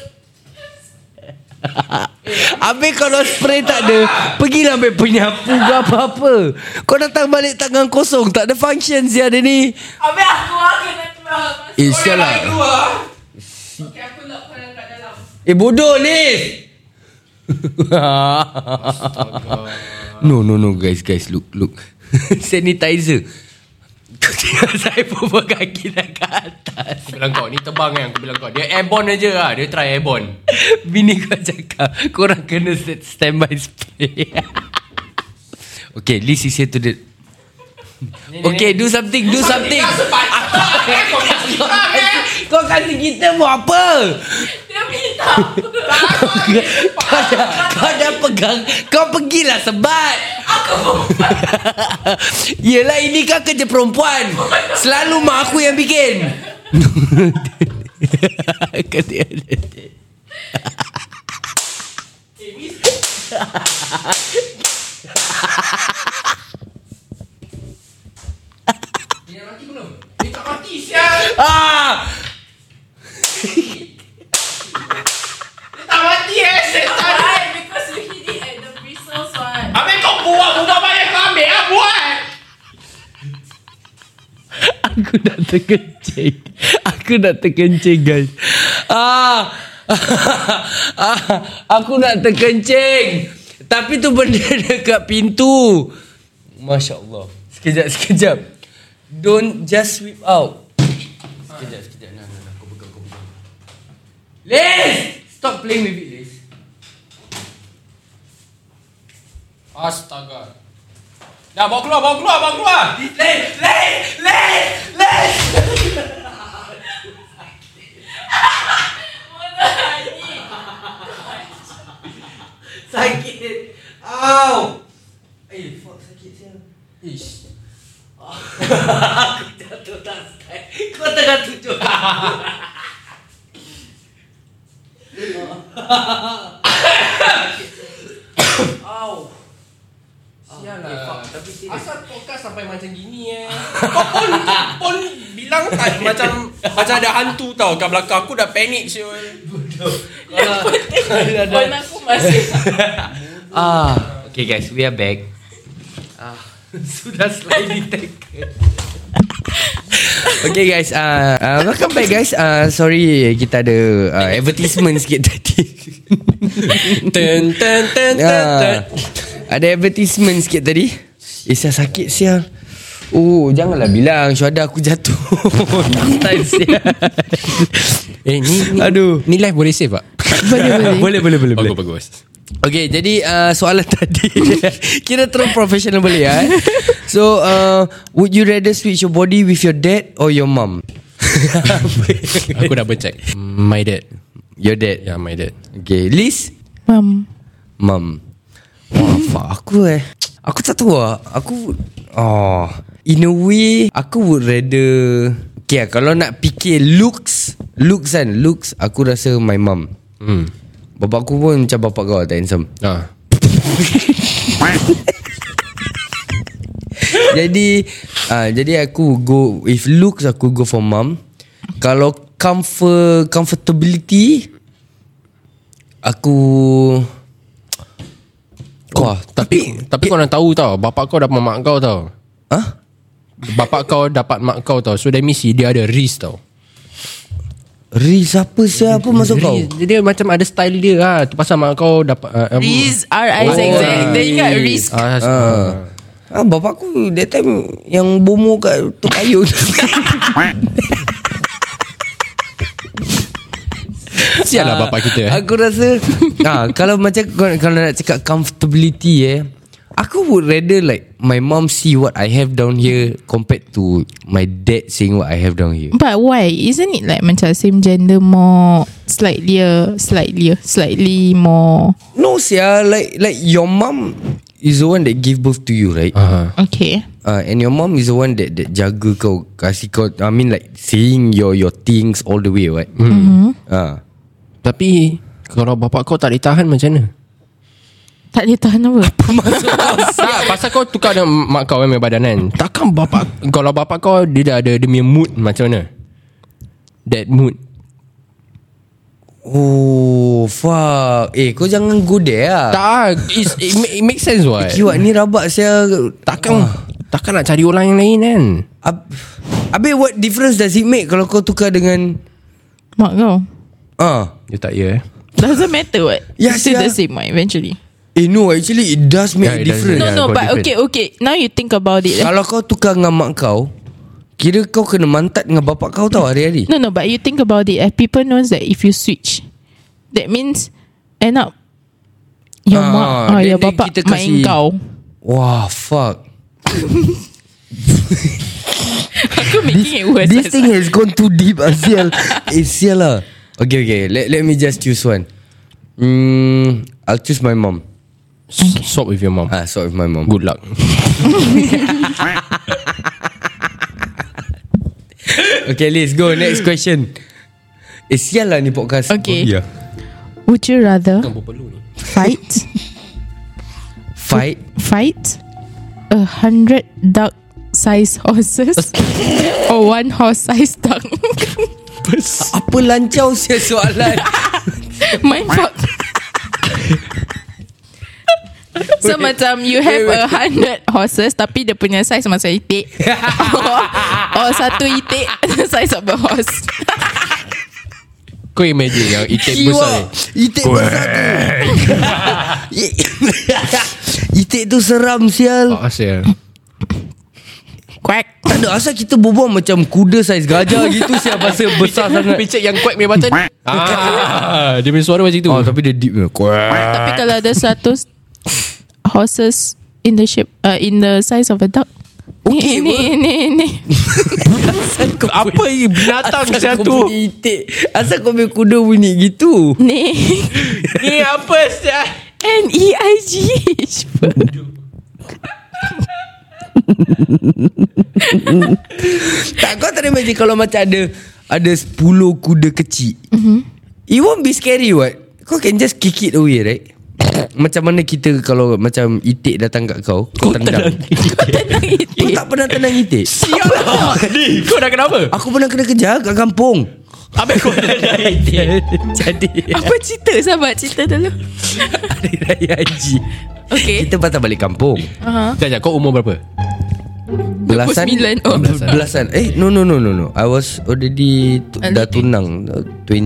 B: Habis kalau spray tak ada Pergilah ambil penyapu ke apa-apa Kau datang balik tangan kosong Tak ada function si ada ni
F: Habis aku lah kena keluar
B: Eh sial lah
F: Okay aku lock korang kat dalam
B: Eh bodoh Liz No no no guys guys look look Sanitizer Kau tengok saya pun kaki dah ke atas
D: Aku bilang kau Ni terbang kan Aku bilang kau Dia airborne aja lah Dia try airborne
B: Bini kau cakap Korang kena st- standby spray Okay Liz is here to the Okay do something Do something Ah,
D: eh.
B: Kau kasi kita buat apa
F: Dia minta
B: Kau dah, kau dah pegang Kau pergilah sebat Yelah ini kan kerja perempuan Selalu mak aku yang bikin Ah,
D: Tak mati eh setan
F: Why? Because you hit it at the bristles what
D: Ambil kau buat Bukan banyak kau ambil lah Buat
B: aku dah terkencing Aku dah terkencing guys Ah, ah Aku nak terkencing Tapi tu benda dekat pintu Masya Allah Sekejap, sekejap Don't just sweep out Sekejap, sekejap Nah, nah, nah Kau pegang, kau pegang Liz Stop playing with it, Liz
D: Astaga Dah bawa keluar Bawa keluar Bawa keluar
B: Sakit Ow Eh fuck sakit siapa Ish Aku jatuh tak style Kau tengah tunjuk Ow Sial lah Tapi serius
D: Asal podcast sampai macam gini eh Kau pun Pun bilang tak Macam Macam ada hantu tau Kat belakang aku dah panik siul
F: Phone aku masih
B: Ah, okay guys, we are back. Ah, sudah slightly taken. okay guys, uh, uh, welcome back guys. Uh, sorry kita ada uh, advertisement sikit tadi.
D: Ten ten ten
B: Ah, ada advertisement sikit tadi. Eh, saya sakit sial. Oh, janganlah bilang Syuada aku jatuh. Style sial.
D: Eh ni, ni
B: Aduh.
D: Ni live boleh save tak?
C: Boleh boleh
B: boleh boleh boleh boleh.
D: Bagus bagus
B: Okay jadi uh, soalan tadi Kira terus professional boleh ya eh? So uh, Would you rather switch your body with your dad or your mum?
D: Aku dah bercek My dad
B: your dad yeah.
D: Ya yeah, my dad
B: Okay Liz
C: Mam
B: Mum Wah fuck aku eh Aku tak tahu lah Aku oh, In a way Aku would rather Okay ah, kalau nak fikir looks Looks kan Looks aku rasa my mum
D: Hmm
B: Bapak aku pun macam bapak kau tak handsome
D: Ah.
B: Jadi uh, Jadi aku go If looks aku go for mom Kalau comfort Comfortability Aku Wah
D: Tapi eh. Tapi kau nak tahu tau Bapak kau dapat mak kau tau
B: Hah?
D: Bapak kau dapat mak kau tau So that means dia ada risk tau
B: Riz apa siapa Apa masuk kau
D: Risk, Dia, dia macam ada style dia ah. lah Tu pasal mak kau dapat uh, um,
C: Riz R I Z Z
B: Oh,
C: Dia ingat
B: Riz.
C: risk
D: ah,
B: Ah. Ah, bapak aku that time yang bomo kat Tok Kayu.
D: Sial lah bapak kita eh.
B: Ah, Aku rasa ah, Kalau macam kau- Kalau nak cakap comfortability eh Aku would rather like My mom see what I have down here Compared to My dad seeing what I have down
D: Mm.
B: here
C: But why? Isn't it like macam same gender more slightly, slightly, slightly more?
B: No sia Like like your mom Is the one that give birth to you right uh-huh.
C: Okay.
B: uh, And your mom is the one that, that Jaga kau Kasih kau I mean like Seeing your your things All the way right mm-hmm. uh,
D: Tapi kalau bapak kau tak boleh tahan macam mana?
C: Tak boleh tahan apa?
D: tak, pasal kau tukar dengan mak kau memang badan kan. Takkan bapak kalau bapak kau dia dah ada demi mood macam mana? That mood.
B: Oh fuck Eh kau jangan go there lah
D: Tak, ah, it's, it, ma- it makes sense what.
B: Kiwak ni rabak sia
D: Takkan takkan nak cari orang yang lain kan?
B: Ab- Habis what difference does it make Kalau kau tukar dengan
C: Mak kau.
B: Ah,
D: Dia tak ya eh.
C: Doesn't matter what.
B: Ya,
C: It's still
B: sia.
C: the same what, eventually.
B: Eh no actually It does make yeah, a
D: Yeah, it does
B: difference
C: No,
D: Yeah,
C: no,
D: got
C: but okay,
D: different.
C: okay. Now you think about it. eh.
B: Kalau kau tukar dengan mak kau Kira kau kena mantat dengan bapak kau tau hari-hari
C: No, no, but you think about it. Eh, people knows that if you switch, that means end up your
B: Ah,
C: mak or
B: then-
C: your
B: then
C: bapak
B: kita kasi-
C: main kau.
B: Wah fuck
C: Aku making it worse. eh,
B: This thing has gone too deep Asial Eh sial lah Okay okay let, let me just choose one Hmm I'll choose my mom
D: Okay. Swap with your mom.
B: Ah sorry my mom
D: Good luck.
B: Okay let's go next question Eh sial lah ni podcast
C: Okay.
D: Ya.
B: yeah.
C: Would you rather fight
B: Fight
C: fight a hundred duck size horses or one horse size duck?
B: Apa lancau sia soalan
C: My fuck. So macam you have
B: wait, wait.
C: a hundred horses tapi dia punya size macam itik or, or satu itik the size of a horse.
D: Kau imagine yang itik Eh, besar.
B: Kiwak Itik besar tu Itik tu seram sial
D: Oh, asyik.
C: Quack.
B: Tak ada asal kita berbual macam kuda saiz
D: Ya,
B: gajah gitu sial Pasal besar sangat
D: Picit yang kuat punya button. ah, dia punya suara macam tu.
B: Oh tapi dia deep punya Kuat.
C: Tapi kalau ada satu s- horses in the shape uh, in the size of a duck.
B: Okay,
C: ni, ni, ni, ni.
D: Apa ini binatang
B: Asal
D: macam
B: kau
D: tu?
B: punya itik Asal kau punya kuda bunyi gitu
C: Ni.
D: Ni apa sial?
C: N E I G H.
B: Tak kau tak ada imagine Kalau macam ada Ada 10 kuda kecil It won't be scary what Kau can just kick it away right Macam mana kita Kalau macam itik datang kat kau Kau, tendang Kau tak pernah tendang itik
D: Sial lah Ni kau dah kenapa?
B: Aku pernah kena kejar kat kampung
D: Habis kau dah
B: Jadi
C: Apa cerita sahabat cerita dulu.
B: Hari
D: E
B: Raya Haji
C: Okay.
B: Kita patah balik kampung
D: Sekejap kau umur berapa?
B: Belasan
C: 29. Oh.
B: Belasan. Belasan Eh no no no no no I was already tu, Dah tunang 28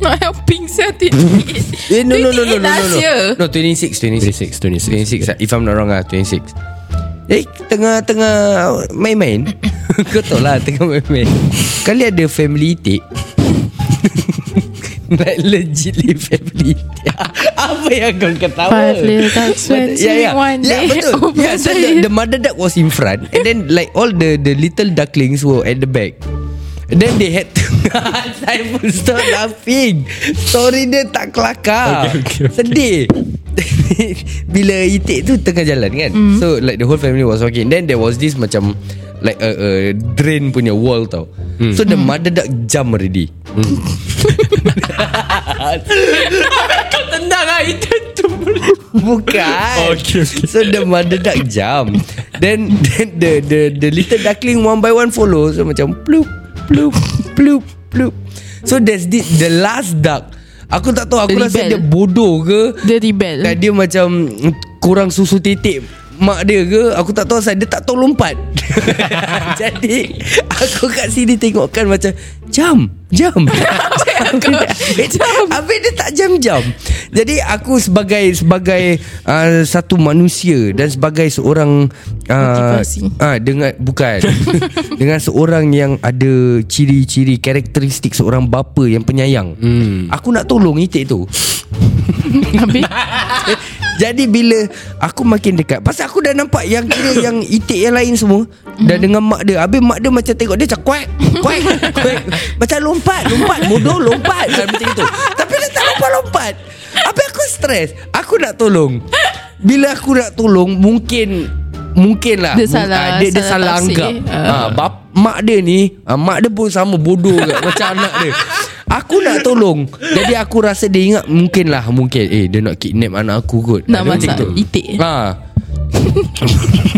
C: Not helping saya
B: Eh no no no no no no
C: last year.
B: no. No 26 26
D: 26
B: 26 If I'm not wrong lah 26 Eh tengah-tengah Main-main Kau tahu lah Tengah main-main Kali ada family itik Like legitly family itik Apa yang kau ketawa
C: Five little ducks went
B: Ya ya
C: swimming one
B: Ya
C: day
B: betul
C: over
B: yeah, so
C: the
B: the, the mother duck was in front And then like All the the little ducklings Were at the back And Then they had to I pun stop laughing Story dia tak kelakar
D: Okay, okay, okay.
B: Sedih Bila itik tu Tengah jalan kan mm. So like the whole family was walking Then there was this macam Like a, a drain punya wall tau mm. So the mother duck jump already
C: Tendang lah itu tu.
B: ah, Bukan. Okay, okay. So the mother duck jump. Then, then the the the little duckling one by one follow. So macam plup plup plup plup. So there's this the last duck. Aku tak tahu aku
C: Dia
B: rasa
C: rebel.
B: dia bodoh ke
C: Dia rebel.
B: dan dia macam kurang susu titik mak dia ke aku tak tahu asal dia tak tahu lompat. Jadi aku kat sini tengokkan macam jam jam. Habis dia tak jam-jam Jadi aku sebagai Sebagai uh, Satu manusia Dan sebagai seorang uh,
C: Motivasi.
B: uh, Dengan Bukan Dengan seorang yang Ada ciri-ciri Karakteristik seorang bapa Yang penyayang hmm. Aku nak tolong itik tu
C: Habis
B: Jadi bila Aku makin dekat Pasal aku dah nampak Yang kira yang itik yang lain semua Dah dengan mak dia Habis mak dia macam tengok dia Macam kuat Kuat Kuat Macam lompat Lompat Bodoh lompat Macam macam itu Tapi dia tak lompat-lompat Habis aku stres Aku nak tolong Bila aku nak tolong Mungkin Mungkin lah
C: Dia
B: Mung-
C: salah-
B: ah, Dia, dia
C: salah
B: salah
C: tafsir.
B: anggap
C: Ah.
B: Ah, bap, Mak dia ni ah, Mak dia pun sama bodoh kat, Macam anak dia Aku nak tolong Jadi aku rasa dia ingat Mungkin lah Mungkin Eh dia nak kidnap anak aku kot
C: Nak
B: Ada macam
C: masak
B: tu.
C: itik.
B: ha.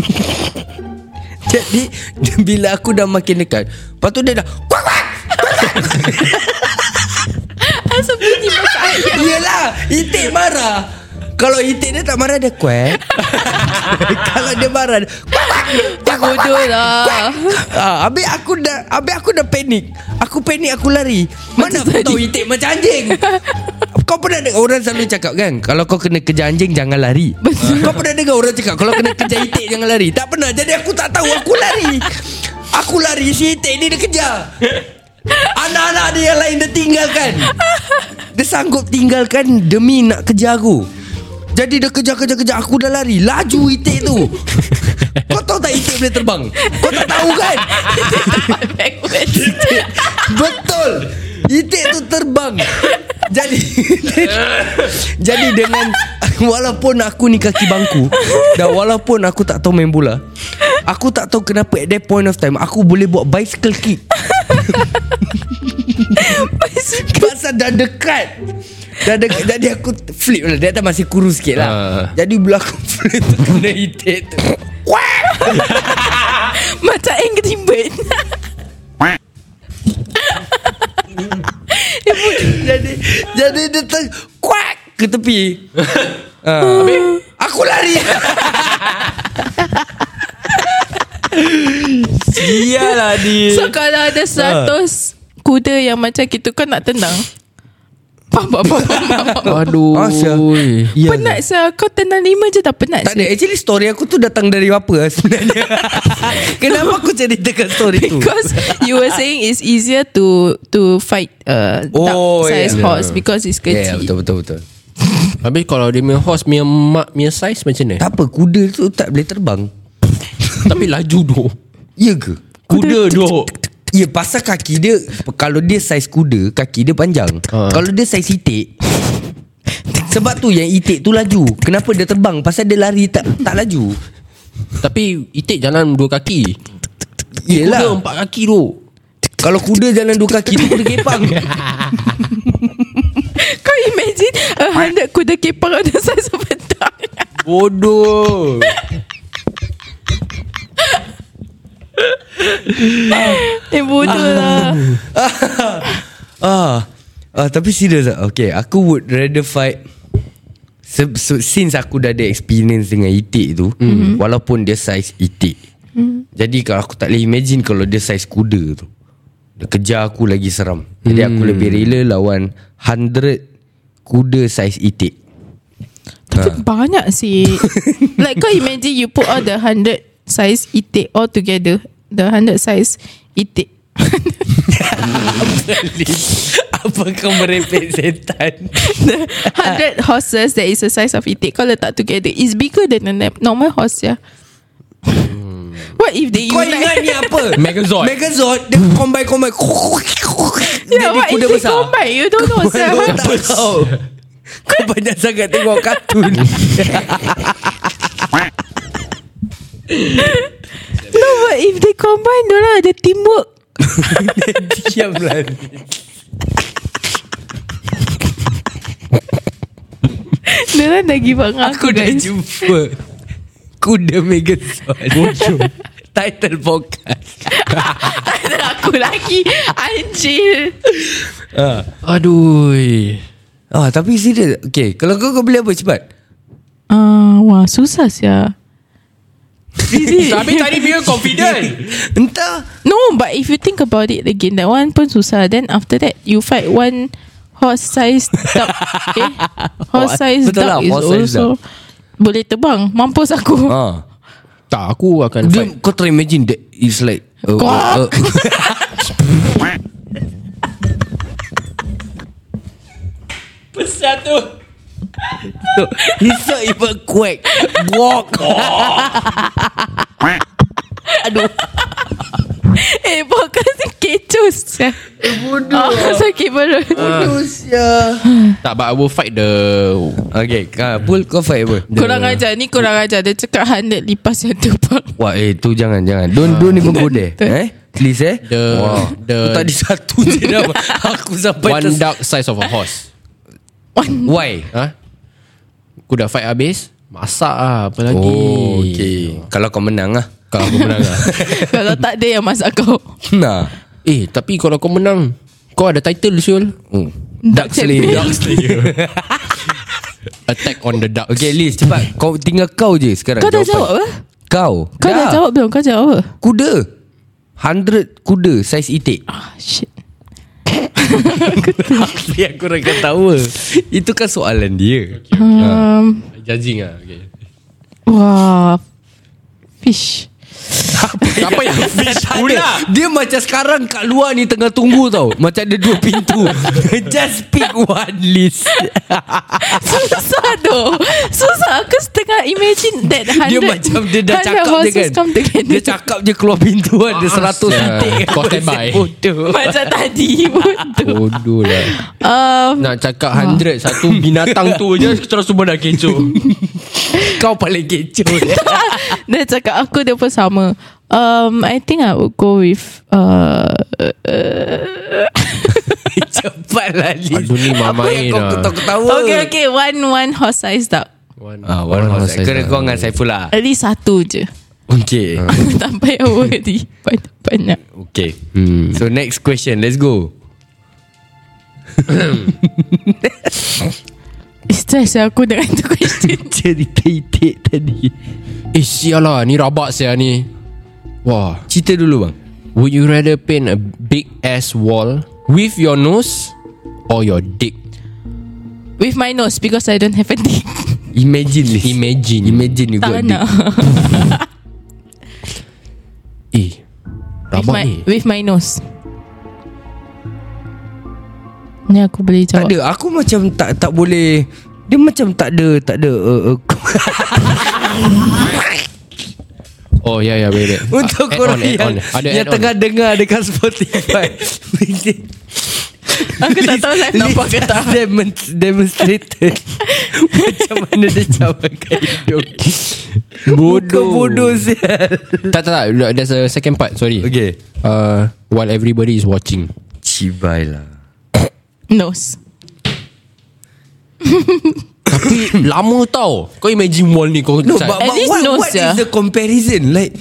B: Jadi dia- Bila aku dah makin dekat Lepas tu dia dah Kuat kuat
C: Asal bunyi masak ayam
B: Yelah lah? Itik marah Kalau itik dia tak marah Dia kuat Kalau dia marah Dia kuat kuat
C: Dia bodoh lah
B: Ah, habis aku dah habis aku dah panik. Aku panik aku lari. Mana aku tahu itik macam anjing. Kau pernah dengar orang selalu cakap kan Kalau kau kena kejar anjing Jangan lari Betul. Kau pernah dengar orang cakap Kalau kena kejar itik Jangan lari Tak pernah Jadi aku tak tahu Aku lari Aku lari Si itik ni dia kejar Anak-anak dia yang lain Dia tinggalkan Dia sanggup tinggalkan Demi nak kejar aku Jadi dia kejar-kejar-kejar Aku dah lari Laju itik tu Kau tahu tak itik boleh terbang Kau tak tahu kan Itik- Betul Itik tu terbang Jadi Jadi dengan Walaupun aku ni kaki bangku Dan walaupun aku tak tahu main bola Aku tak tahu kenapa At that point of time Aku boleh buat bicycle kick Pasal dah dekat Dah dekat Jadi aku flip lah Dia atas masih kurus sikit lah
D: Ah.
B: Jadi bila aku flip tu Kena itik tu
C: Macam yang ketimbit
B: Jadi Jadi dia ter Kuak Ke tepi Ah. Aku lari
D: Iyalah ni
C: So kalau ada 100 Kuda yang macam gitu Kau nak tendang Pam pam pam pam, pam pam.
D: Aduh
B: Ah, sia. Ya.
C: Penat saya Kau tendang lima je dah penat
B: Tak ada Actually story aku tu Datang dari apa eh, sebenarnya Kenapa aku ceritakan story tu
C: Because you were saying it's easier to to fight uh,
B: Oh,
C: oh, size
B: yeah.
C: horse because it's kecil.
B: Ya yeah, betul-betul
D: Habis kalau dia punya horse Punya mak punya size macam
C: Ya.
D: mana
B: Tak apa kuda tu tak boleh terbang
D: Tapi laju doh
B: Ya ke?
D: Kuda doh
B: Ya pasal kaki dia Kalau dia saiz kuda Kaki dia panjang
D: Ah.
B: Kalau dia saiz itik Sebab tu yang itik tu laju Kenapa dia terbang Pasal dia lari tak tak laju
D: Tapi itik jalan dua kaki Kuda
B: Yelah
D: empat kaki doh
B: Kalau kuda jalan dua kaki tu kuda kepang
C: Kau imagine a hundred kuda kepang ada size sepedang.
D: Bodoh
C: eh bodoh lah.
B: ah, ah, Tapi serius lah Okay aku would rather fight se, se, Since aku dah ada experience dengan itik tu
C: Mhm.
B: mm-hmm. Walaupun dia saiz itik mm. Jadi kalau aku tak boleh imagine Kalau dia saiz kuda tu Dia kejar aku lagi seram Jadi aku lebih rela lawan 100 kuda saiz itik
C: Tapi banyak sih. like kau imagine you put all the hundred size itik all together. The hundred size itik.
B: Apa kau merepek setan
C: The hundred horses that is the size of itik kau letak together is bigger than a nap- normal horse ya. What if they
B: Hmm. Kau
C: unite?
B: ingat ni apa
D: Megazord.
B: Megazord Dia combine-combine
C: Yeah,
B: Jadi
C: Ya, what
B: kuda
C: if they
B: besar
C: combine? You don't know.
B: Kau
C: Sarah.
B: tak tahu. Kau banyak sangat tengok kartun
C: No, but if they combine, diorang ada teamwork.
B: Diamlah
C: Diorang dah give up dengan
B: Aku
C: aku,
B: dah
C: guys.
B: jumpa Kuda Megazord Bocor Title podcast
C: Ada aku lagi. Anjir.
D: Aduh
B: Ah, Tapi serius Okay Kalau kau kau beli apa cepat
C: Ah, wah, susah sia. Is it?
D: Tapi tadi dia confident
B: Entah
C: No, but if you think about it again, that one pun susah. Then after that, you fight one horse-sized duck. Eh? Horse-sized
B: Betul lah,
C: duck is
B: horse-sized
C: also boleh terbang. Mampus aku.
B: ha.
D: Tak aku akan
B: Dia,
D: fight
B: kau try imagine that It's like uh, uh,
C: Ah,
B: uh,
C: Besar tu.
B: It's not even quack Walk
C: Eh, podcast ni kecoh sia. Bodoh. Oh, sakit perut.
D: Tak but I will fight the
B: Okay uh, Pul kau fight apa
C: Korang ajar ni, korang ajar. Dia cakap 100 lipas yang terbang.
B: Wah eh tu jangan jangan Don't don't even go there Eh Please eh
D: The-
B: Wah.
D: the-
B: Aku tadi satu je dah Aku sampai
D: One
B: ters-
D: duck size of a horse
B: Why
D: Ha? Aku dah fight habis Masak lah Apa lagi
B: Oh okay Kalau kau menang lah
D: Kau aku menang lah
C: Kalau tak ada yang masak kau.
B: Nah
D: Eh tapi kalau kau menang Kau ada title Syul
B: oh. Duck Slayer
C: Duck
D: Attack on the ducks
B: Okay Liz cepat Kau tinggal kau je sekarang
C: Kau dah
B: jawapan.
C: jawab apa?
B: Kau
C: Kau dah jawab belum? Kau jawab apa?
B: Kuda 100 kuda Saiz itik
C: Ah, shit.
B: Ya aku orang ketawa Itu kan soalan dia
C: Um,
D: Judging lah okay.
C: Wah Fish
D: Apa yang fish pula
B: Dia macam sekarang kat luar ni tengah tunggu tau Macam ada dua pintu Just pick one list
C: Susah doh Susah Aku setengah imagine That
B: Dia
C: hundred
B: macam dia dah
C: hundred
B: cakap je
C: horses
B: kan
C: come together.
B: Dia cakap je keluar pintu ada seratus
D: sia.
B: titik
D: Kau stand by.
B: Bodoh
C: Macam tadi pun tu
B: Oh.
D: Bodoh lah
C: um,
D: Nak cakap hundred Satu binatang tu je Terus semua dah kecoh
B: Kau paling kecoh
C: Dia cakap aku Dia pun sama um, I think I would go with uh,
B: Cepatlah Liz
D: Aduh, ni
B: lah,
D: mama
B: Apa yang
D: ni
B: kau
D: dah.
B: ketawa-ketawa
C: Okay okay One one horse size duck
B: Ah, one horse Kena kau dengan Saifullah
C: At least satu je
B: Okay
C: Aku tak payah worry Banyak-banyak
B: Okay hmm. So next question Let's go
C: Stress ya aku dengan tu question
B: Cerita itik tadi
D: Eh sial lah Ni rabak sial ni Wah
B: Cerita dulu bang
D: Would you rather paint a big ass wall With your nose Or your dick
C: With my nose Because I don't have a dick
B: Imagine Liz
D: Imagine
B: Imagine you got
C: Tak
B: dick
C: nak with
D: Eh Rabak
C: my,
D: ni
C: with my nose Ni aku boleh
B: Tak
C: jawab
B: ada Aku macam tak tak boleh Dia macam tak ada Tak ada uh, uh,
D: Oh ya ya boleh boleh.
B: Untuk
D: Ah, add
B: korang
D: on, add
B: yang,
D: on. Ada
B: yang
D: add on.
B: tengah dengar Dekat Spotify
C: Aku tak tahu
B: lah
C: saya nampak ke tak
B: demon- Demonstrated Macam mana dia cabarkan hidung Bodoh Bodoh sial
D: Tak tak tak There's a second part Sorry
B: Okay
D: uh, While everybody is watching
B: Cibai lah
C: Nose
D: Tapi lama tau Kau imagine wall ni Kau
B: Hmm. No,
D: decide.
B: but,
C: At
B: but
C: least
B: what,
C: nose,
B: what
C: yeah.
B: is the comparison? Like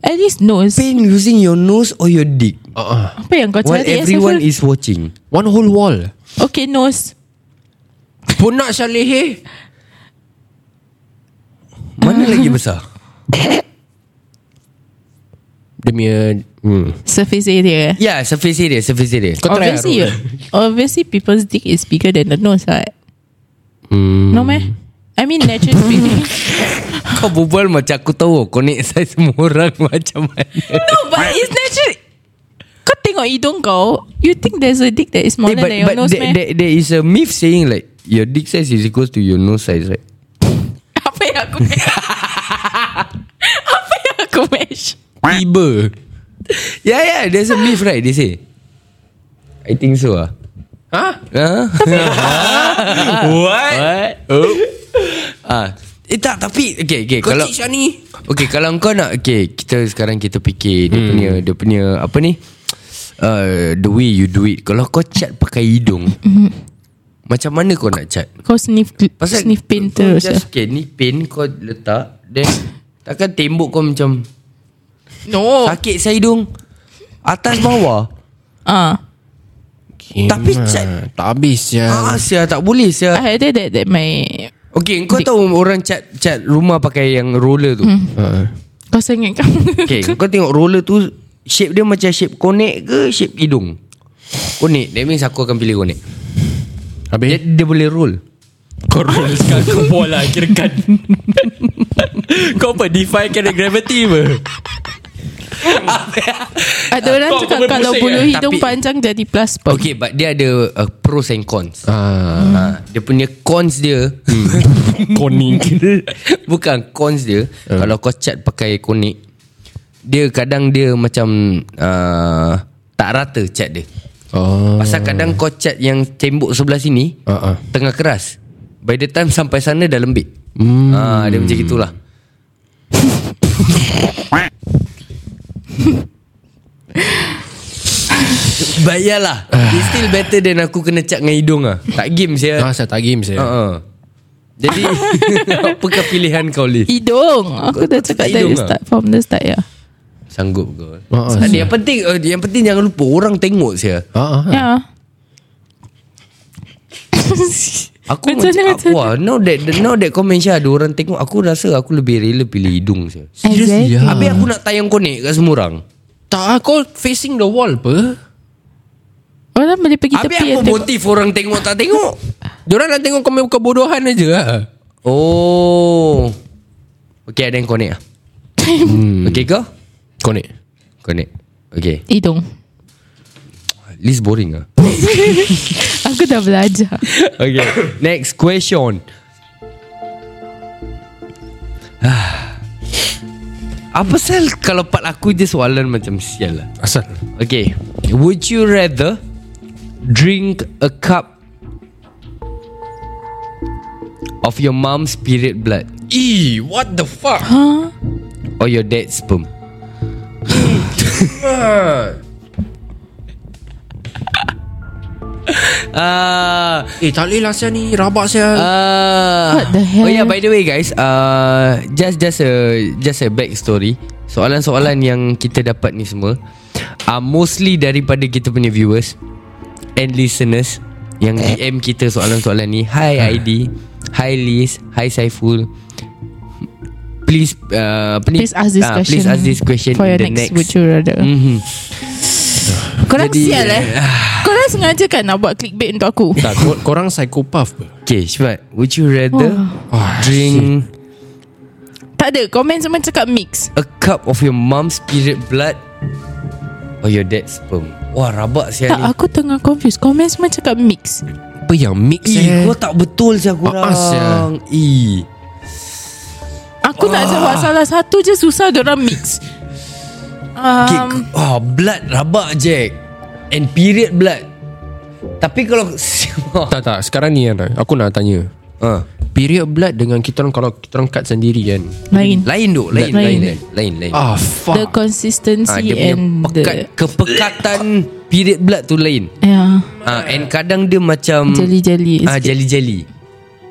C: At least nose
B: pain using your nose or your dick
D: uh, uh.
C: Apa yang kau
B: while
C: cari eh,
B: everyone
C: Saiful?
B: is watching.
D: One whole wall
C: Okay nose
D: Punak sial leher
B: Mana lagi besar?
D: Demi hmm.
C: Surface area eh?
B: Yeah, surface area, surface area.
D: Kau try lah,
C: Obviously
D: Arul.
C: you, Obviously people's dick is bigger than the nose right
D: Hmm.
C: No meh I mean naturally speaking
B: Kau berbual macam aku tahu Kau ni saya semua orang macam mana
C: No but it's naturally Kau tengok hidung kau You think there's a dick that is smaller
B: but,
C: than your
B: but
C: nose
B: there,
C: meh
B: there, there is a myth saying like Your dick size is equals to your nose size right
C: Apa yang aku Apa yang aku measure
D: Tiba
B: Yeah yeah there's a myth right they say I think so ah
D: Ha?
B: Huh? What? What? Oh. ah. Eh tak tapi Okay, okay
D: Kau
B: kalau,
D: cik sial ni
B: Okay kalau kau nak Okay kita sekarang kita fikir Dia punya Dia punya Apa ni uh, The way you do it Kalau kau cat pakai hidung Macam mana kau nak cat
C: Kau sniff Pasal Sniff pain
B: kau
C: terus eh?
B: just, Okay ni pin kau letak Then Takkan tembok kau macam
C: No
B: Sakit saya hidung Atas bawah
C: Ah,
B: Tapi cat-
D: Tak habis sial Hmm.
B: Ah sia tak boleh sia
C: I had that that my
B: Okay kau tahu orang cat cat rumah pakai yang roller tu hmm.
D: Uh,
C: Kau sengit kamu
B: Okay kau tengok roller tu Shape dia macam shape konek ke Shape hidung Konek That means aku akan pilih konek
D: habis?
B: Dia, dia boleh roll
G: Eh? Kau roll sekarang kau bola Kira kan Kau apa Defy kena gravity apa
C: Ada orang
G: Kau-
C: cakap
G: kau
C: Kalau
G: pusing,
C: bulu
G: eh?
C: hidung
B: Tapi-
C: panjang Jadi plus point
B: Okay but dia ada uh, Pros and cons
G: Hmm.
D: Ah,
B: ha, Dia punya cons dia
G: Koning Hmm.
B: Bukan cons dia uh. Kalau kau cat pakai konik Dia kadang dia macam uh, Tak rata cat dia
D: oh.
B: Pasal
G: Hmm.
B: kadang kau cat yang tembok sebelah sini
D: Ah, ah.
B: Tengah keras By the time sampai sana dah lembik hmm. ha, Dia macam gitulah But ya lah It's still better than aku kena cat dengan hidung lah Tak game saya
D: Ah, saya tak game saya.
B: uh-uh. Jadi Apakah pilihan kau Lee?
C: Hidung Aku dah
B: kau
C: cakap
B: tak
C: dari
B: hidung ah?
C: start From the start ya
B: Sanggup kau
D: Ah, ah,
B: Tak, Yang penting eh, Yang penting jangan lupa Orang tengok saya
D: Ah, ah.
C: Ya
B: Aku macam,
C: Macam mana,
B: macam
C: macam
B: Wah now that Now that comment Syah Ada orang tengok Aku rasa aku lebih rela Pilih hidung saya
C: Exactly.
D: ya?
B: Habis aku nak tayang konek Kat semua orang
D: Tak, kau facing the wall apa?
C: Orang boleh pergi
B: Habis apa
C: tepi tengok.
B: motif Orang tengok tak tengok
D: Diorang nak tengok kau main kebodohan aja lah.
B: Oh Okay ada yang konek lah hmm. Okay kau
D: Connect.
B: Konek Okay
C: Hidung
B: At least boring lah
C: Aku dah belajar
B: Okay Next question Ah. Apa sel Kalau part aku je soalan Macam sial lah
D: Asal?
B: Okay Would you rather Drink a cup Of your mom's period blood
D: E, what the fuck?
B: Or your dad's sperm Ah,
D: Eh, tak boleh lah saya ni. Rabak saya.
B: Ah.
C: What the hell?
B: Oh yeah, by the way guys, uh, just just a just a back story. Soalan-soalan yang kita dapat ni semua are mostly daripada kita punya viewers and listeners yang
C: Eh.
B: DM kita soalan-soalan ni.
C: Ah.
B: Hi ID, hi Liz, hi Saiful. Please uh, apa ni?
C: Please ask this
B: Ah,
C: question
B: Please ask this question
C: For your
B: in the
C: next,
B: next.
C: Would you rather
B: Mhm.
C: Korang sial eh Korang sengaja kan Nak buat clickbait untuk aku
D: Tak, kor- korang psikopath apa?
B: Okay, Syifat, would you rather
D: Oh,
C: Ah,
B: drink
C: Tak ada Komen semua cakap mix
B: a cup of your mom's period blood or your dad's sperm. Wah, rabak sial ni.
C: Tak aku tengah confused Komen semua cakap mix
D: Apa yang mix
B: Ih,
D: eh?
B: kau tak betul sial korang.
D: Maaf, sial.
B: Ih.
C: Aku nak jawab salah satu je Susah orang mix
B: Okay,
C: um,
B: k- oh, blood rabak, Jack. And period blood. Tapi kalau...
D: Tak, tak. Sekarang ni kan, aku nak tanya.
B: Ah.
D: Period blood dengan kita orang kalau kita orang cut sendiri kan.
C: Lain
B: Lain duk, lain, lain,
C: Lain.
B: lain, lain, lain.
C: The
D: Ah, fuck.
B: Ah, dia
C: consistency
B: punya
C: and
B: pekat,
C: the
B: kepekatan period blood tu lain.
C: Yeah
B: Ah, and kadang dia macam
C: Jelly-jelly
B: Ah,
C: sikit.
B: jeli-jeli.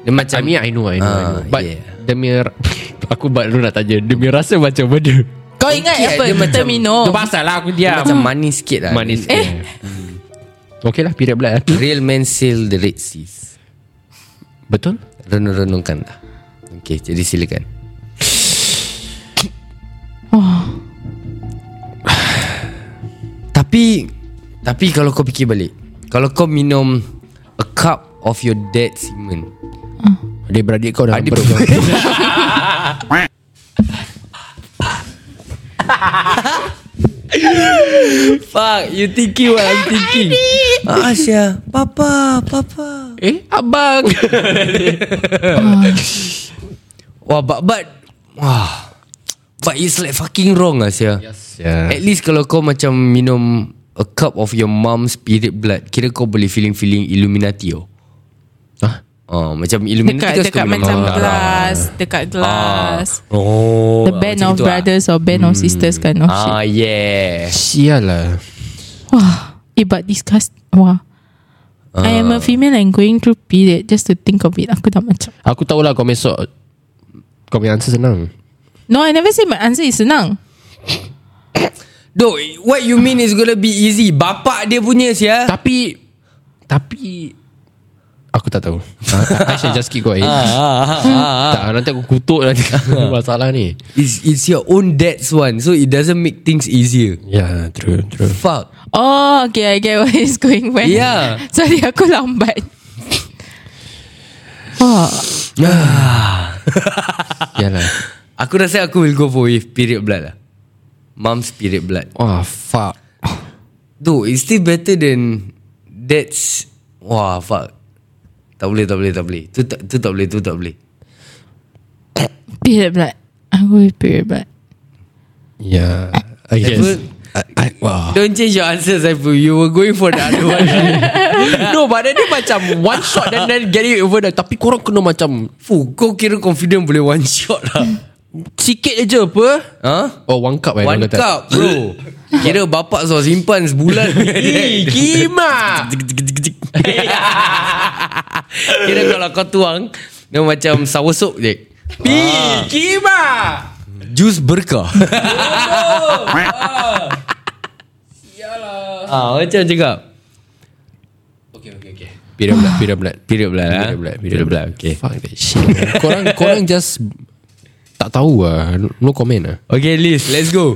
B: Dia macam
D: I mean, I know, I know. I know.
B: Ah,
D: But
B: yeah.
D: demi... ra- aku baru nak tanya. Demi rasa macam mana?
C: Kau ingat
B: Okay,
C: apa
B: dia
C: Kita
B: macam-
C: minum
D: Tu pasal lah aku
B: dia
D: diam.
B: Oh. macam manis sikit lah.
D: Manis.
B: Dia-
D: Eh. Okay lah, period blood. eh.
B: Real men sail the Red Seas
D: Betul?
B: Renung-renungkanlah lah. Okay jadi silakan Tapi Tapi kalau kau fikir balik Kalau kau minum A cup of your dead semen
D: Adik-beradik kau dalam
B: Adik-
D: perut kau.
B: Fuck You thinking what I'm thinking Ah Asya Papa Papa
D: eh, abang.
B: Wah but but Wah But it's like fucking wrong Asya Yes
D: yeah.
B: At least kalau kau macam minum A cup of your mom's period blood Kira kau boleh feeling-feeling Illuminati oh.
D: Hah?
B: Oh, macam Illuminati kan
C: Dekat
B: suka
C: dekat
B: minum
C: macam
B: arak.
C: glass Dekat glass
B: Oh
C: The band
B: macam
C: of
B: gitu ah.
C: brothers Or band of sisters kind of shit
B: Ah yeah
D: Sial lah.
C: Wah, eh but disgust. Wah.
B: Ah.
C: I am a female and going through period Just to think of it Aku dah macam
D: Aku tahulah kau besok Kau punya answer senang
C: No I never say my answer is senang
B: Duh What you mean
D: Ah.
B: is gonna be easy Bapak dia punya sia
D: Tapi Tapi Aku tak tahu I should just keep quiet Tak nanti aku kutuk Nanti masalah ni
B: It's, it's your own dad's one So it doesn't make things easier
D: Ya yeah, true true
B: Fuck
C: Oh okay I get where it's going back
B: Yeah.
C: Sorry aku lambat Oh,
D: Yalah
B: Aku rasa aku will go for with period blood lah Mom's period blood
D: Wah fuck
B: Dude it's still better than Dad's Wah fuck Tak boleh tak boleh tak boleh Tu tak, tu tak boleh tu tak boleh
C: period blood Aku with period blood
D: Ya yeah, I guess
B: Apa?
D: I, I, Wah
B: Don't change your answer Saiful You were going for the other one
D: No but then dia macam One shot and then get it over the Tapi korang kena macam
B: Fuh kau kira confident boleh one shot lah
D: Sikit je apa
B: Huh?
D: Oh one cup eh,
B: One
D: orang kata.
B: cup bro Kira bapak so simpan sebulan
D: Eh Kima
B: Kira kalau kau tuang Dia macam sour soup je
D: Pi Kima
B: Jus berkah Ah, macam cakap
D: Period blood Period blood
B: Period blood lah
D: Period blood Period blood
B: Okay
D: Fuck that shit man. Korang Korang just Tak tahu lah No- No comment lah
B: Okay Liz Let's go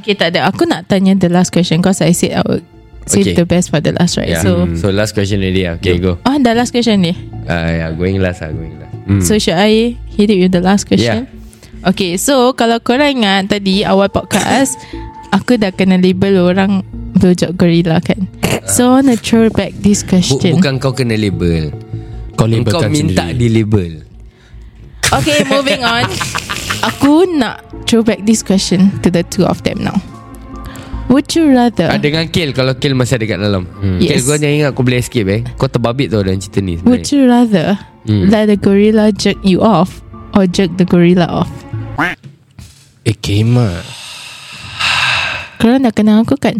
C: Okay tak ada Aku nak tanya the last question Cause I said I would Save
B: Okay.
C: the best for the last right
B: yeah. Mm. so, so
C: So
B: last question already ah. Okay go
C: Oh the last question ni
B: Ah, yeah, Going last lah Going last
C: So should I hit it with the last question? Yeah. Okay, so kalau korang ingat tadi awal podcast, aku dah kena label orang blowjob gorilla kan? So I wanna throw back this
B: Bu-
C: question.
B: Bukan kau kena label
D: Kau
B: Kau
D: labelkan
B: minta
D: sendiri
B: di label
C: Okay, moving on. Aku nak throw back this question to the two of them now. Would you rather?
B: ah, Dengan Kel Kalau Kel masih ada kat dalam hmm. Kel
C: Yes.
B: kau jangan ingat Kau boleh escape eh Kau terbabit tau dalam cerita ni
C: Would
B: sebenarnya.
C: you rather let the gorilla jerk you off or jerk the gorilla off?
D: Eh Kima
C: Korang dah kenal aku kan?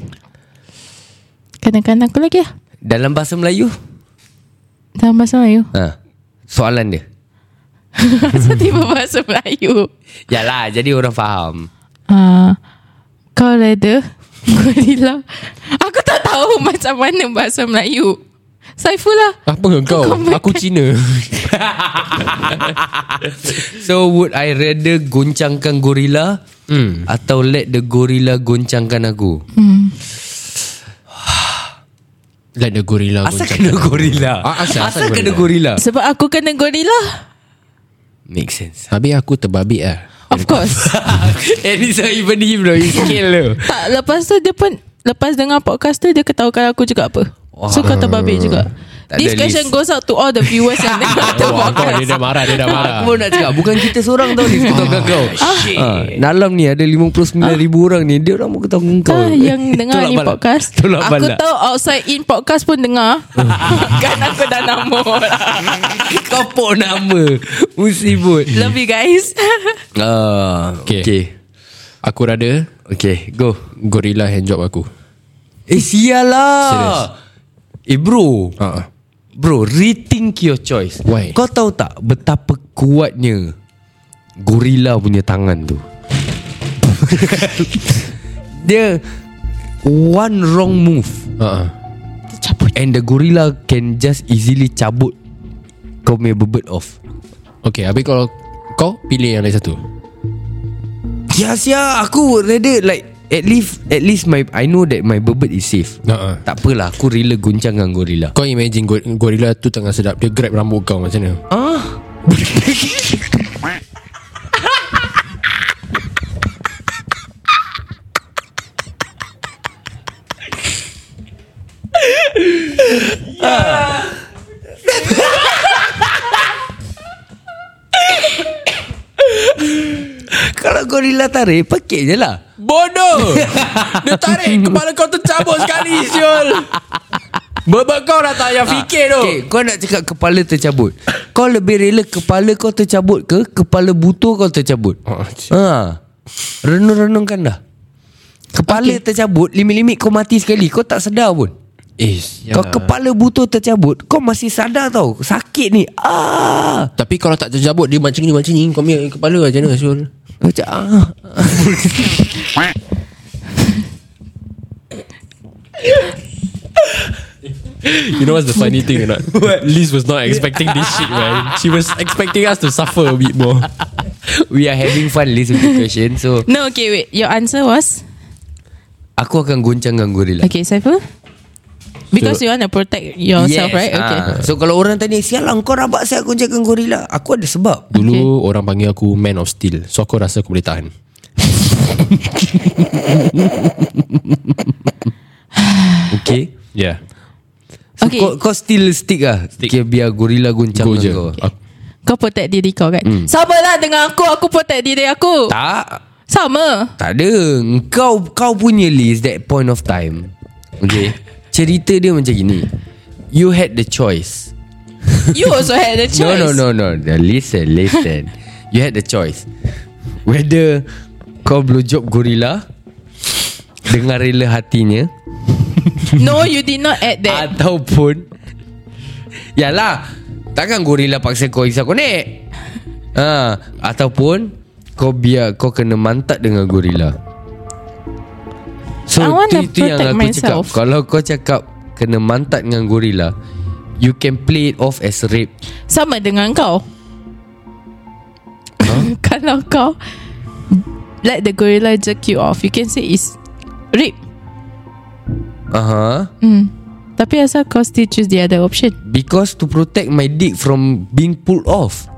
C: Kenal-kenal aku lagi lah.
B: Dalam bahasa Melayu
C: Dalam bahasa Melayu.
B: ah, Soalan dia
C: Asal tiba bahasa Melayu?
B: Yalah jadi orang faham
C: Uh, kau leather Gorilla Aku tak tahu macam mana bahasa Melayu Saiful lah
D: Apa dengan kau
C: Kau comeback.
D: Aku Cina
B: So would I rather goncangkan gorila hmm. Atau let the gorilla goncangkan aku hmm.
D: Like the gorilla
B: Asal
D: goncang.
B: kena gorila
D: Ah, asal- asal
B: asal kena gorila
D: gorilla?
C: Sebab aku kena gorilla
B: Make sense
D: Habis aku terbabit lah
C: Of course
B: And it's not Eh, even him though It's Kel though
C: Tak lepas tu dia pun Lepas dengar podcast tu Dia ketawakan aku juga apa So kau terbabit juga
B: Tak
C: This
B: ada
C: question
B: list.
C: goes out to all the viewers Yang dengar the
D: Wah, kau
C: podcast
D: dia dah marah Dia dah marah
B: Ah, Aku pun nak cakap Bukan kita seorang tau Ni ketawa kau Ah, Dalam ni ada 59 ribu orang ni Dia orang mau ketawa kau
C: Ah, yang dengar
B: Tolak
C: ni
B: balak.
C: podcast
B: Tolak
C: Aku
B: balak.
C: tahu outside in podcast pun dengar Kan aku dah nama
B: Kau pok nama Musibut
C: Love you guys
B: Ah,
D: Okay.
B: okay
D: Aku rada
B: Okay go
D: Gorilla handjob aku
B: Eh
D: Serious.
B: sialah Eh bro
D: uh-uh.
B: Bro Rethink your choice
D: Why?
B: Kau tahu tak Betapa kuatnya Gorila punya tangan tu Dia One wrong move
D: Uh-uh.
C: Cabut
B: And the gorilla Can just easily cabut Kau punya bebet off
D: Okay habis kalau Kau pilih yang lain satu
B: Ya sia Aku would rather like At least At least my I know that my bebet is safe
D: uh-uh.
B: Tak apalah Aku rela goncang dengan gorila
D: Kau imagine go- gorilla tu tengah sedap Dia grab rambut kau macam mana
B: Kalau gorila tarik Pakai je lah
D: Bodoh Dia tarik Kepala kau tercabut sekali Syul Bebek kau dah tak payah fikir tu
B: Okay Ah, kau nak cakap kepala tercabut Kau lebih rela kepala kau tercabut ke Kepala butuh kau tercabut
D: Oh,
B: ha. Renung-renungkan dah Kepala okay. tercabut Limit-limit kau mati sekali Kau tak sedar pun
D: Eh
B: yeah. Kau kepala butuh tercabut Kau masih sadar tau Sakit ni ah.
D: Tapi kalau tak tercabut Dia macam ni macam ni Kau punya kepala macam mana Syul
B: Macam ah.
G: You know what's the funny thing or not? Liz was not expecting this shit, man. She was expecting us to suffer a bit more.
B: We are having fun Liz with the question So
C: No, okay, wait. Your answer was?
B: Aku akan goncang dengan gorila
C: Okay, Saiful? Because you want to protect yourself, right? Okay.
B: ah. So kalau orang tanya Sialah kau rabak saya goncang dengan gorila Aku ada sebab
G: Dulu orang panggil aku Man of Steel. So aku rasa aku boleh tahan.
B: Okay
G: Yeah.
B: So
C: Okay.
B: okay. kau, kau still stick lah stick. Okay, Biar gorila goncang
G: Go je.
B: dengan kau
G: Aku,
C: Kau protect diri kau kan
B: Hmm.
C: mm. Sama lah dengan aku Aku protect diri aku
B: Tak
C: Sama
B: Tak ada Kau kau punya list That point of time Okay Cerita dia macam gini You had the choice
C: You also had the choice
B: No no no no Listen listen You had the choice Whether Kau blowjob gorila Dengan rela hatinya
C: No you did not add that
B: Ataupun Yalah Takkan gorila paksa kau isap konek ha, Ataupun Kau biar Kau kena mantat dengan gorila So
C: I wanna
B: itu, itu yang
C: protect
B: aku
C: myself.
B: cakap Kalau kau cakap Kena mantat dengan gorila You can play it off as rape
C: Sama dengan kau Kalau kau Let the gorilla jerk you off You can say it's Rape Hmm.
B: Aha.
C: Tapi asal kau still choose the other option
B: Because to protect my dick From being pulled off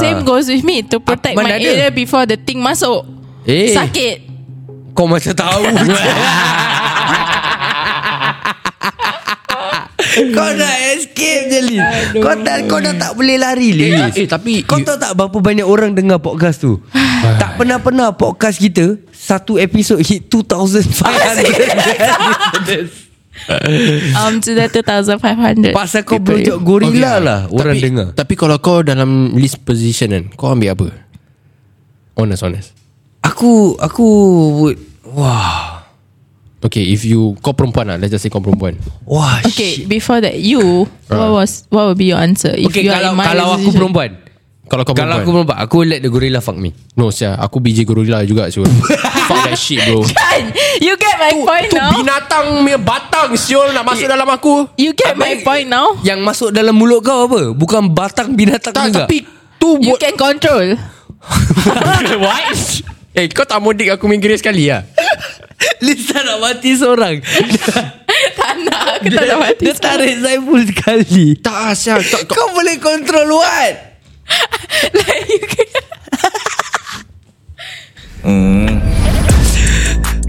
C: Same goes with me To protect
B: Ah. Mana
C: my
B: ada?
C: area Before the thing masuk
B: Eh
C: Sakit
B: Kau macam tahu je. Kau nak escape je Lin Kau tak Kau dah tak boleh lari Lin
G: eh, tapi
B: Kau
G: you-
B: tahu tak Berapa banyak orang dengar podcast tu Tak pernah-pernah podcast kita Satu episod hit 2,500
C: Um to the 2500
B: Pasal kau
C: people.
B: blowjob gorila lah
G: tapi,
B: Orang dengar
G: Tapi kalau kau dalam list position kan, kau ambil apa? Honest, honest.
B: Aku Aku would Wah
G: Okay, if you kau perempuan lah, let's just say kau perempuan.
B: Wah
C: Okay, before that, you what was what would be your answer
B: Ah.
C: if
B: Okay
C: you are
B: kalau,
C: in my
B: kalau aku
C: position?
B: perempuan
G: Kalau kau
B: Kalau aku
G: perempuan.
B: perempuan Aku let the gorilla fuck me
G: no, sia, aku BJ gorilla juga siul. Fuck that shit, bro.
C: Kan? you get my point
G: Tu
C: now.
G: binatang punya batang siul nak masuk dalam aku.
C: you get my point now.
B: Oh. Yang masuk dalam mulut kau apa? Bukan batang binatang
G: Tak,
B: juga.
G: tapi tu
C: You
G: buat
C: can control.
G: What? Eh, kau tak modik aku minggir sekali lah.
B: Lisa nak mati seorang.
C: tak nak, aku tak nak mati.
B: Dia tarik Saiful sekali.
G: Tak ah, Syah. Tak, kau,
B: Kau boleh kontrol what?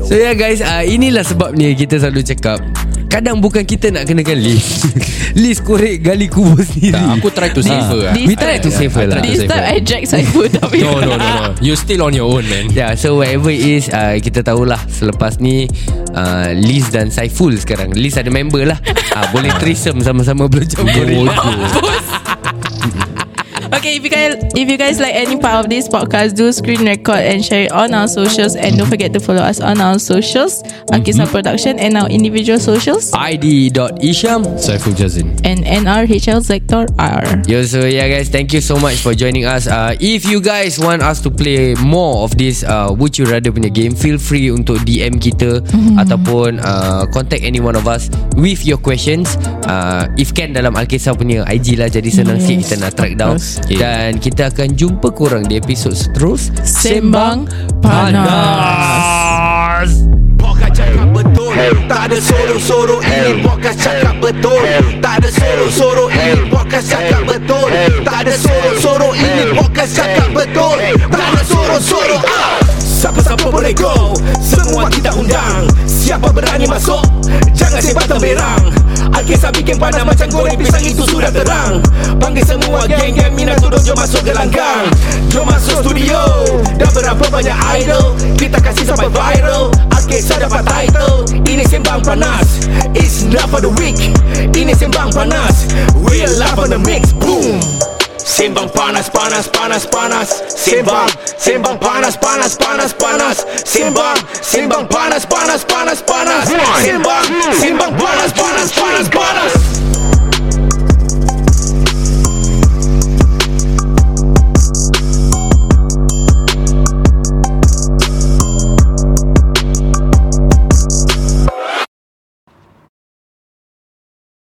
B: So yeah guys uh, Inilah sebabnya Kita selalu cakap Kadang bukan kita nak kenakan Liz Liz korek gali kubur sendiri
G: tak, aku try to save her.
B: Ah.
G: lah.
B: We try to save her lah
G: I try to
C: This
G: save
C: time
G: her.
C: I drag Saiful tapi
G: No, no, no, no. You still on your own, man.
B: Yeah, so whatever it is uh, Kita tahulah Selepas ni uh, Liz dan Saiful sekarang Liz ada member lah uh, Boleh threesome sama-sama Blowjob gorilla
C: Okay, if you guys if you guys like any part of this podcast, do screen record and share it on our socials, and don't forget to follow us on our socials, Akisa Production, and our individual socials,
B: ID.Isham
G: Saiful Jazin.
C: and NRHL Sector R.
B: Yo, so yeah guys, thank you so much for joining us. Uh, if you guys want us to play more of this uh, Would You Rather punya game, feel free untuk DM kita
C: Mm-hmm.
B: ataupun uh, contact any one of us with your questions. Uh, if can dalam Alkisah punya IG lah, jadi senang yes, sikit kita nak track down. Okay. Dan kita akan jumpa korang di episod seterus.
C: Sembang Panas.
E: Pokas cakap betul Tak ada sorok-sorok Ini Pokas cakap betul Tak ada sorok-sorok Ini Pokas cakap betul Tak ada sorok-sorok Ini Pokas cakap betul Tak ada sorok-sorok ah! Siapa-siapa boleh go Semua kita undang Siapa berani masuk Jangan sebar temberang Alkisah bikin panas macam goreng pisang itu sudah terang Panggil semua geng-geng Minato Jom masuk ke langgang Jom masuk studio Dah berapa banyak idol Kita kasih sampai viral Alkisah dapat title Ini sembang panas It's love for the week Ini sembang panas Real love on the mix Boom Sembang panas, panas, panas, panas Sembang, sembang panas, panas, panas, panas Sembang, sembang panas, panas, panas, panas Sembang, sembang panas, panas, panas, panas